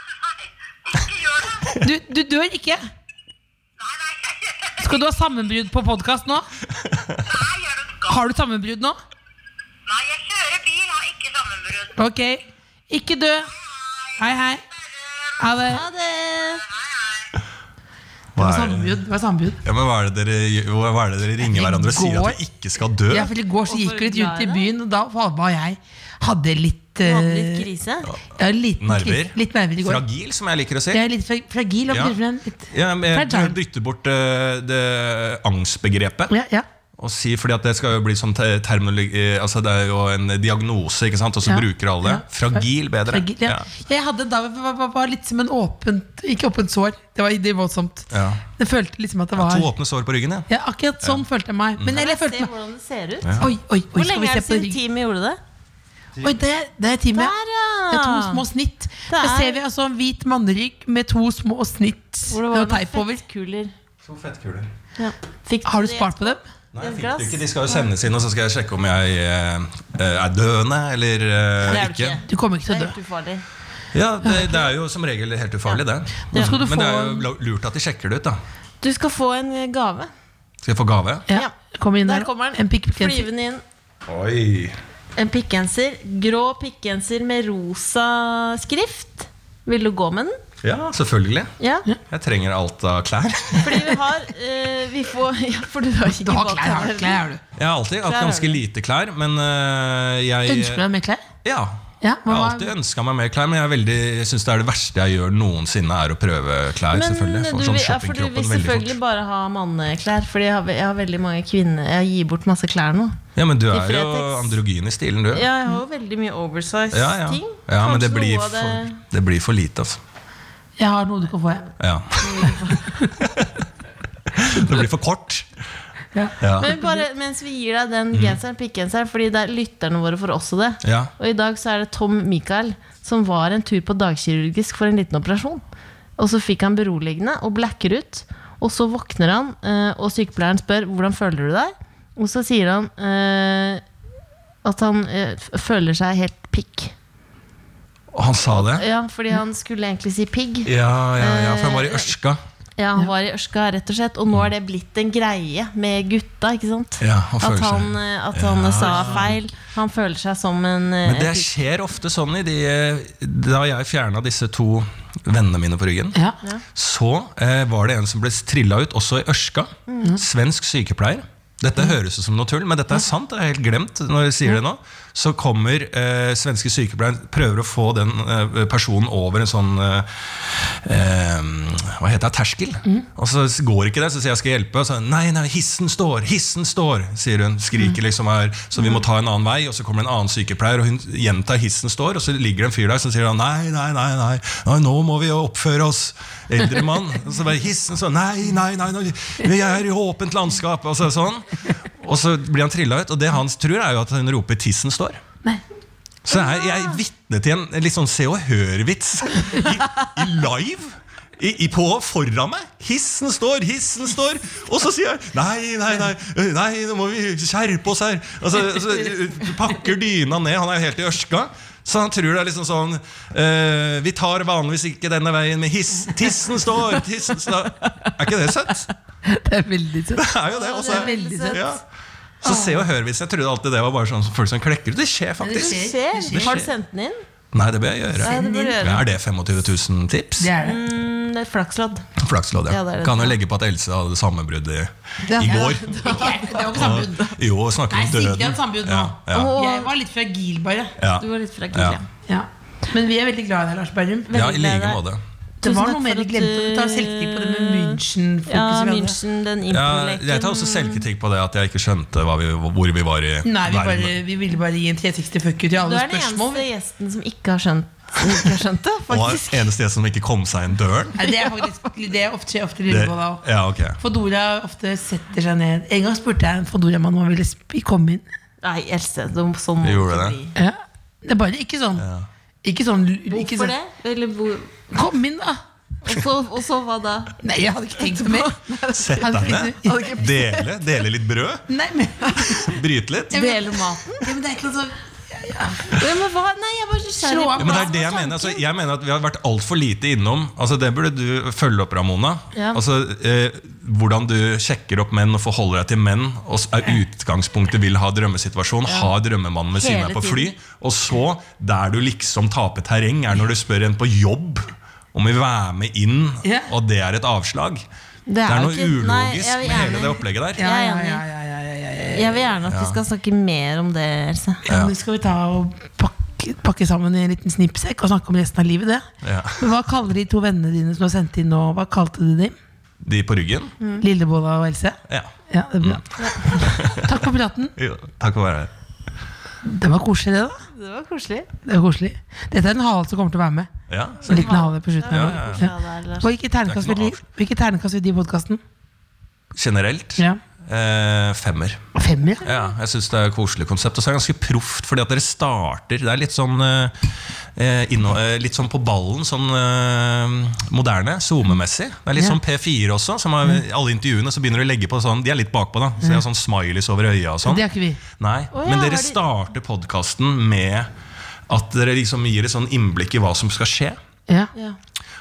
Nei. Ikke gjør det.
Du, du dør ikke.
Nei, nei.
Skal du ha sammenbrudd på podkast nå?
Nei, gjør du skal.
Har du sammenbrudd nå?
Nei, jeg kjører bil, har ikke sammenbrudd.
Ok. Ikke dø. Hei, hei. Ha det.
Ha det!
Hva er det?
Sammenbrudd. Det var sammenbrudd.
Ja, men hva er det dere, hva er det dere ringer hverandre og sier at vi ikke skal dø?
Ja, for I går så gikk vi litt rundt i byen, og da Halva og jeg hadde litt
Du
eh,
hadde litt krise?
ja, litt
Nerver.
Litt nerver i går.
Fragil, som jeg liker å si.
Jeg er litt fra- fragil. hva
Ja.
betyr det for en- Litt.
Ja, men
Fragile.
du bytter bort eh, det angstbegrepet.
Ja, ja.
Og si, fordi at Det skal jo bli sånn te- termolo- eh, altså det er jo en diagnose, ikke sant? og så
Ja.
bruker alle det.
Ja.
Fragil bedre.
Fragil, ja.
Ja.
Jeg hadde en dag hvor jeg var, var, var litt som en åpent Ikke åpent sår, det var det var voldsomt.
Ja.
Jeg følte liksom at det var
To åpne sår på ryggen, ja. Mm.
ja, Akkurat sånn følte jeg meg. Men eller jeg
Se
følte meg
hvordan det ser ut.
Oi, oi, oi,
Hvor
skal
lenge
vi
er
se
det
på
siden
ryggen?
teamet gjorde det?
Oi, det, det er time, ja.
Der, ja!
Det er to små snitt.
Det
Der
er-
ser vi altså en hvit mannerygg med to små snitt
Hvor det
og
var
teip
noen
over.
fettkuler.
To fettkuler.
Ja. Fikk
Har du
det?
spart på dem?
Nei,
Et
fikk
glass.
du ikke. De skal jo sendes inn, og så skal jeg sjekke om jeg eh, er døende eller eh,
Det er du
ikke.
ikke.
Du kommer ikke
Det
til
er
å dø.
helt ufarlig.
Ja, det, det er jo som regel helt ufarlig, det.
Nå skal du
Men det er
få-
jo lurt at de sjekker det ut, da.
Du skal få en eh, gave.
Skal jeg få gave?
Ja. Kommer inn
Der
der.
kommer
En
den.
pikk pikkgenser.
Flyvende inn.
Oi.
En pikkgenser. Grå pikkgenser med rosa skrift. Vil du gå med den?
Ja, selvfølgelig.
Ja.
Jeg trenger alt av klær.
Fordi vi har eh, Vi får Ja, for du har ikke
Du har
bak
klær, har
deg.
du klær, har du.
Jeg har alltid hatt
Klær er
ganske
det.
lite klær, men øh, jeg
Ønsker du deg mer klær?
Ja.
Ja,
Jeg
hva
har
var-
alltid ønska meg mer klær, men jeg, er veldig- jeg syns det er det verste jeg gjør noensinne, er å prøve klær.
Men eh,
selvfølgelig. Jeg
du,
får
vil-
sånn
ja, for du vil
shoppingkroppen veldig
selvfølgelig
fort.
bare ha manneklær. Fordi jeg har, jeg har veldig mange kvinner Jeg gir bort masse klær nå.
Ja, men du
i
er jo
Fretex.
androgyn i stilen, du.
Ja, jeg har jo veldig mye oversize
ja, ja.
ting.
ja men det
Kanskje
blir,
noe av
for, det blir for lite, altså.
Jeg har noe du kan få. jeg.
Ja. det blir for kort.
Ja.
Ja.
Men bare mens vi gir deg den genseren, pikkgenseren, fordi det er lytterne våre får også det.
Ja.
Og i dag så er det Tom Michael som var en tur på dagkirurgisk for en liten operasjon. Og så fikk han beroligende og blacker ut. Og så våkner han, eh, og sykepleieren spør hvordan føler du deg? Og så sier han eh, at han eh, f- føler seg helt pikk.
Og Han sa det?
Ja, fordi han skulle egentlig si pigg.
Ja, ja, ja, for han var i ørska.
Ja, han var i Ørska, rett og slett. Og nå er det blitt en greie med gutta, ikke sant?
Mm. Ja, han
at
føler seg-
han, eh, at han
Ja.
sa feil. Han føler seg som en eh,
Men det
en pikk.
skjer ofte sånn i de Da jeg fjerna disse to vennene mine på ryggen,
Ja.
så eh, var det en som ble trilla ut, også i Ørska. Svensk sykepleier. Dette høres ut som noe tull, men dette er sant. det er helt glemt når jeg sier det nå. Så kommer eh, svenske sykepleieren, prøver å få den eh, personen over en sånn eh, eh, Hva heter det? Terskel. Og så går ikke det, så sier jeg skal jeg hjelpe. Og så nei, nei, hissen står, hissen står, sier hun. Skriker liksom her, så vi må ta en annen vei. Og så kommer det en annen sykepleier, og hun gjentar hissen står. Og så ligger det en fyr der som sier han, nei, nei, nei, nei, nei, nå må vi jo oppføre oss. Eldre mann. Og så bare hissen så nei, nei, nei, nei, vi er i åpent landskap. Og så sånn. Og så blir han trilla ut, og det han tror, er jo at hun roper 'tissen står'. Så jeg, jeg
Ah.
er vitne til en litt sånn Se og Hør-vits i, i live. I, i på foran meg. Hissen står, hissen står. Og så sier jeg nei, nei, nei, nei, nå må vi skjerpe oss her. Og så, så pakker dyna ned. Han er jo helt i ørska. Så han tror det er liksom sånn eh, Vi tar vanligvis ikke denne veien, men hiss, tissen står! tissen står Er ikke det søtt?
Det er veldig søtt.
Det er jo det. Og så-
det er veldig søtt.
Ja. Så Se og Hør-vitsen. Jeg trodde alltid det var bare sånn folk som klekker ut. Det skjer faktisk.
Det skjer. Har du sendt den inn?
Nei, det bør jeg gjøre.
Nei, det bør du gjøre.
Ja, Er det 25 000 tips?
Det er det.
Mm, det er Flakslodd.
Flakslodd, ja.
Ja, det er det.
Kan jo legge på at Else hadde sammenbrudd i, i går.
Det var ikke sambud.
Jo, og snakker
Nei,
om
Sigrid
døden.
hadde sambud nå.
Ja, ja,
Jeg var litt fragil, bare.
ja.
Du var litt fragil,
Ja.
ja.
Ja. Men vi er veldig glad i deg, Lars Berrum.
ja, i
glad i
like
deg.
måte.
Det
Tusen
var
takk
noe mer vi
for at
glemte.
du-
Du tar selvkritikk på det med München-fokuset.
Ja,
vi hadde.
München, den
Ja,
impro-leken.
jeg tar også selvkritikk på det at jeg ikke skjønte hva vi, hvor vi var i
Nei, vi,
verden.
bare, vi ville bare gi en 360 fuck you til
Du
alle
er den
spørsmål.
eneste gjesten som ikke har skjønt, ikke har skjønt det, faktisk.
Og eneste jeg som ikke kom seg inn døren.
Nei, det er faktisk det er ofte, skjer ofte
Det,
lurer på da også.
ja, ok
Fodora ofte setter seg ned. En gang spurte jeg en Fodora-mann om han ville sp- komme inn.
Nei, Else, de, sånn må ikke
Gjorde det.
bli.
Ja. Det er bare ikke sånn. Ikke sånn ikke
Hvorfor
sånn,
det? Eller hvor,
Kom inn, da!
og, så, og så hva da?
Nei, jeg hadde ikke tenkt på mer.
Sett deg ned.
Hadde ikke-
Dele, dele litt brød.
Nei, men,
Bryte litt.
Dele maten?
ja, men det er ikke noe sånn
Ja, men hva? Nei, jeg er bare
Slå
nysgjerrig.
av
Ja, men det er det jeg mener. Altså, jeg mener at vi har vært altfor lite innom. Altså, det burde du følge opp, Ramona.
Ja.
Altså, eh, hvordan du sjekker opp menn og forholder deg til menn. Og s- er utgangspunktet vil ha drømmesituasjon, har drømmemannen ved siden
Hele
av på fly.
tiden.
Og så, der du liksom taper terreng, er når du spør en på jobb om vi vil være med inn,
Ja.
og det er et avslag. Det er,
jo
noe
ikke-
ulogisk
nei, jeg vil
med hele
gjerne-
det opplegget der.
Jeg er
ja,
enig.
ja, ja, ja, ja, ja, ja.
Jeg vil gjerne at vi skal snakke mer om det, Else.
Men Nå skal vi ta og pakke, pakke sammen i en liten snippsekk og snakke om resten av livet. det
Ja.
Men Hva kaller de to vennene dine som har sendt inn nå? Hva kalte du dem?
De på ryggen.
Mm.
Lillebolla og Else?
Ja.
Ja, det er bra. Takk for praten.
Jo, takk for å være her.
Det var koselig, det, da.
Det var koselig.
Det var koselig Dette er en hale som kommer til å være med.
Ja,
En liten hale på slutten.
Ja,
Ja,
ja,
Ja, det er, Lars.
Og hvilket ternekast
Det er
vil
ikke noe
de- hvilket ternekast vil de i podkasten?
generelt.
Ja.
Eh, femmer.
Femmer, ja.
Ja, jeg syns det er et koselig konsept. Og så er det ganske proft, fordi at dere starter Det er litt sånn eh, inno, eh, Litt sånn på ballen, sånn eh, moderne, SoMe-messig. Det er litt sånn P4 også. Som har, alle intervjuene så begynner du å legge på sånn De er litt bakpå, da. Så de har sånn smileys over øya og sånn.
Det har ikke vi.
Nei,
Å ja,
Men
har de-
dere starter podkasten med at dere liksom gir et sånn innblikk i hva som skal skje.
Ja.
Ja.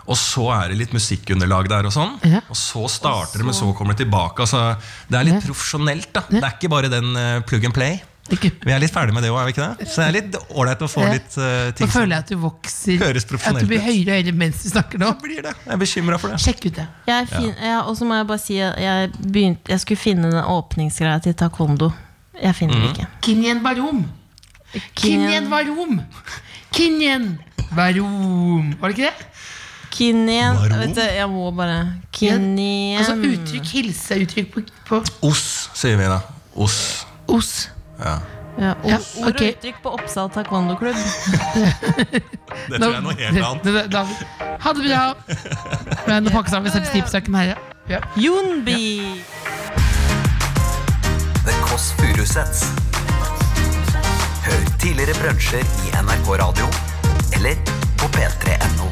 Og så er det litt musikkunderlag der, og sånn
Ja.
Og så starter det, men så kommer det tilbake. Altså, det er litt profesjonelt. da Det er ikke bare den eh, plug and play.
Det er ikke.
Vi er litt ferdig med det òg, er vi ikke det? Så det er litt ålreit å få
Ja.
litt eh,
Nå
ting som
føler jeg at du vokser.
Høres
At
profesjonelt
du blir
ut.
høyere og høyere mens du snakker nå.
blir det. Jeg er bekymra for det.
Sjekk ut det.
Jeg, er fin, ja, og så må jeg bare si at jeg, begynte, jeg skulle finne den åpningsgreia til taekwondo. Jeg finner den ikke.
Kinyen Barom. Kinyen Barom. Kinyen Barom. Var det ikke det?
Kinien
Varom?
vet du, Jeg må bare
Altså
Kinien
uttrykk, hilse, uttrykk på, på
Oss, sier vi da. Oss.
os.
ja,
Ja,
ord- Ord og
ok.
uttrykk på Oppsal taekwondoklubb.
Det tror jeg er noe helt annet.
Da- da- da- Ha det bra. Men nå pakker sammen selvsnipsaken her, ja. ja.
Yunbi!
The Kåss Furuseths. Hør tidligere brunsjer i NRK Radio eller på p3.no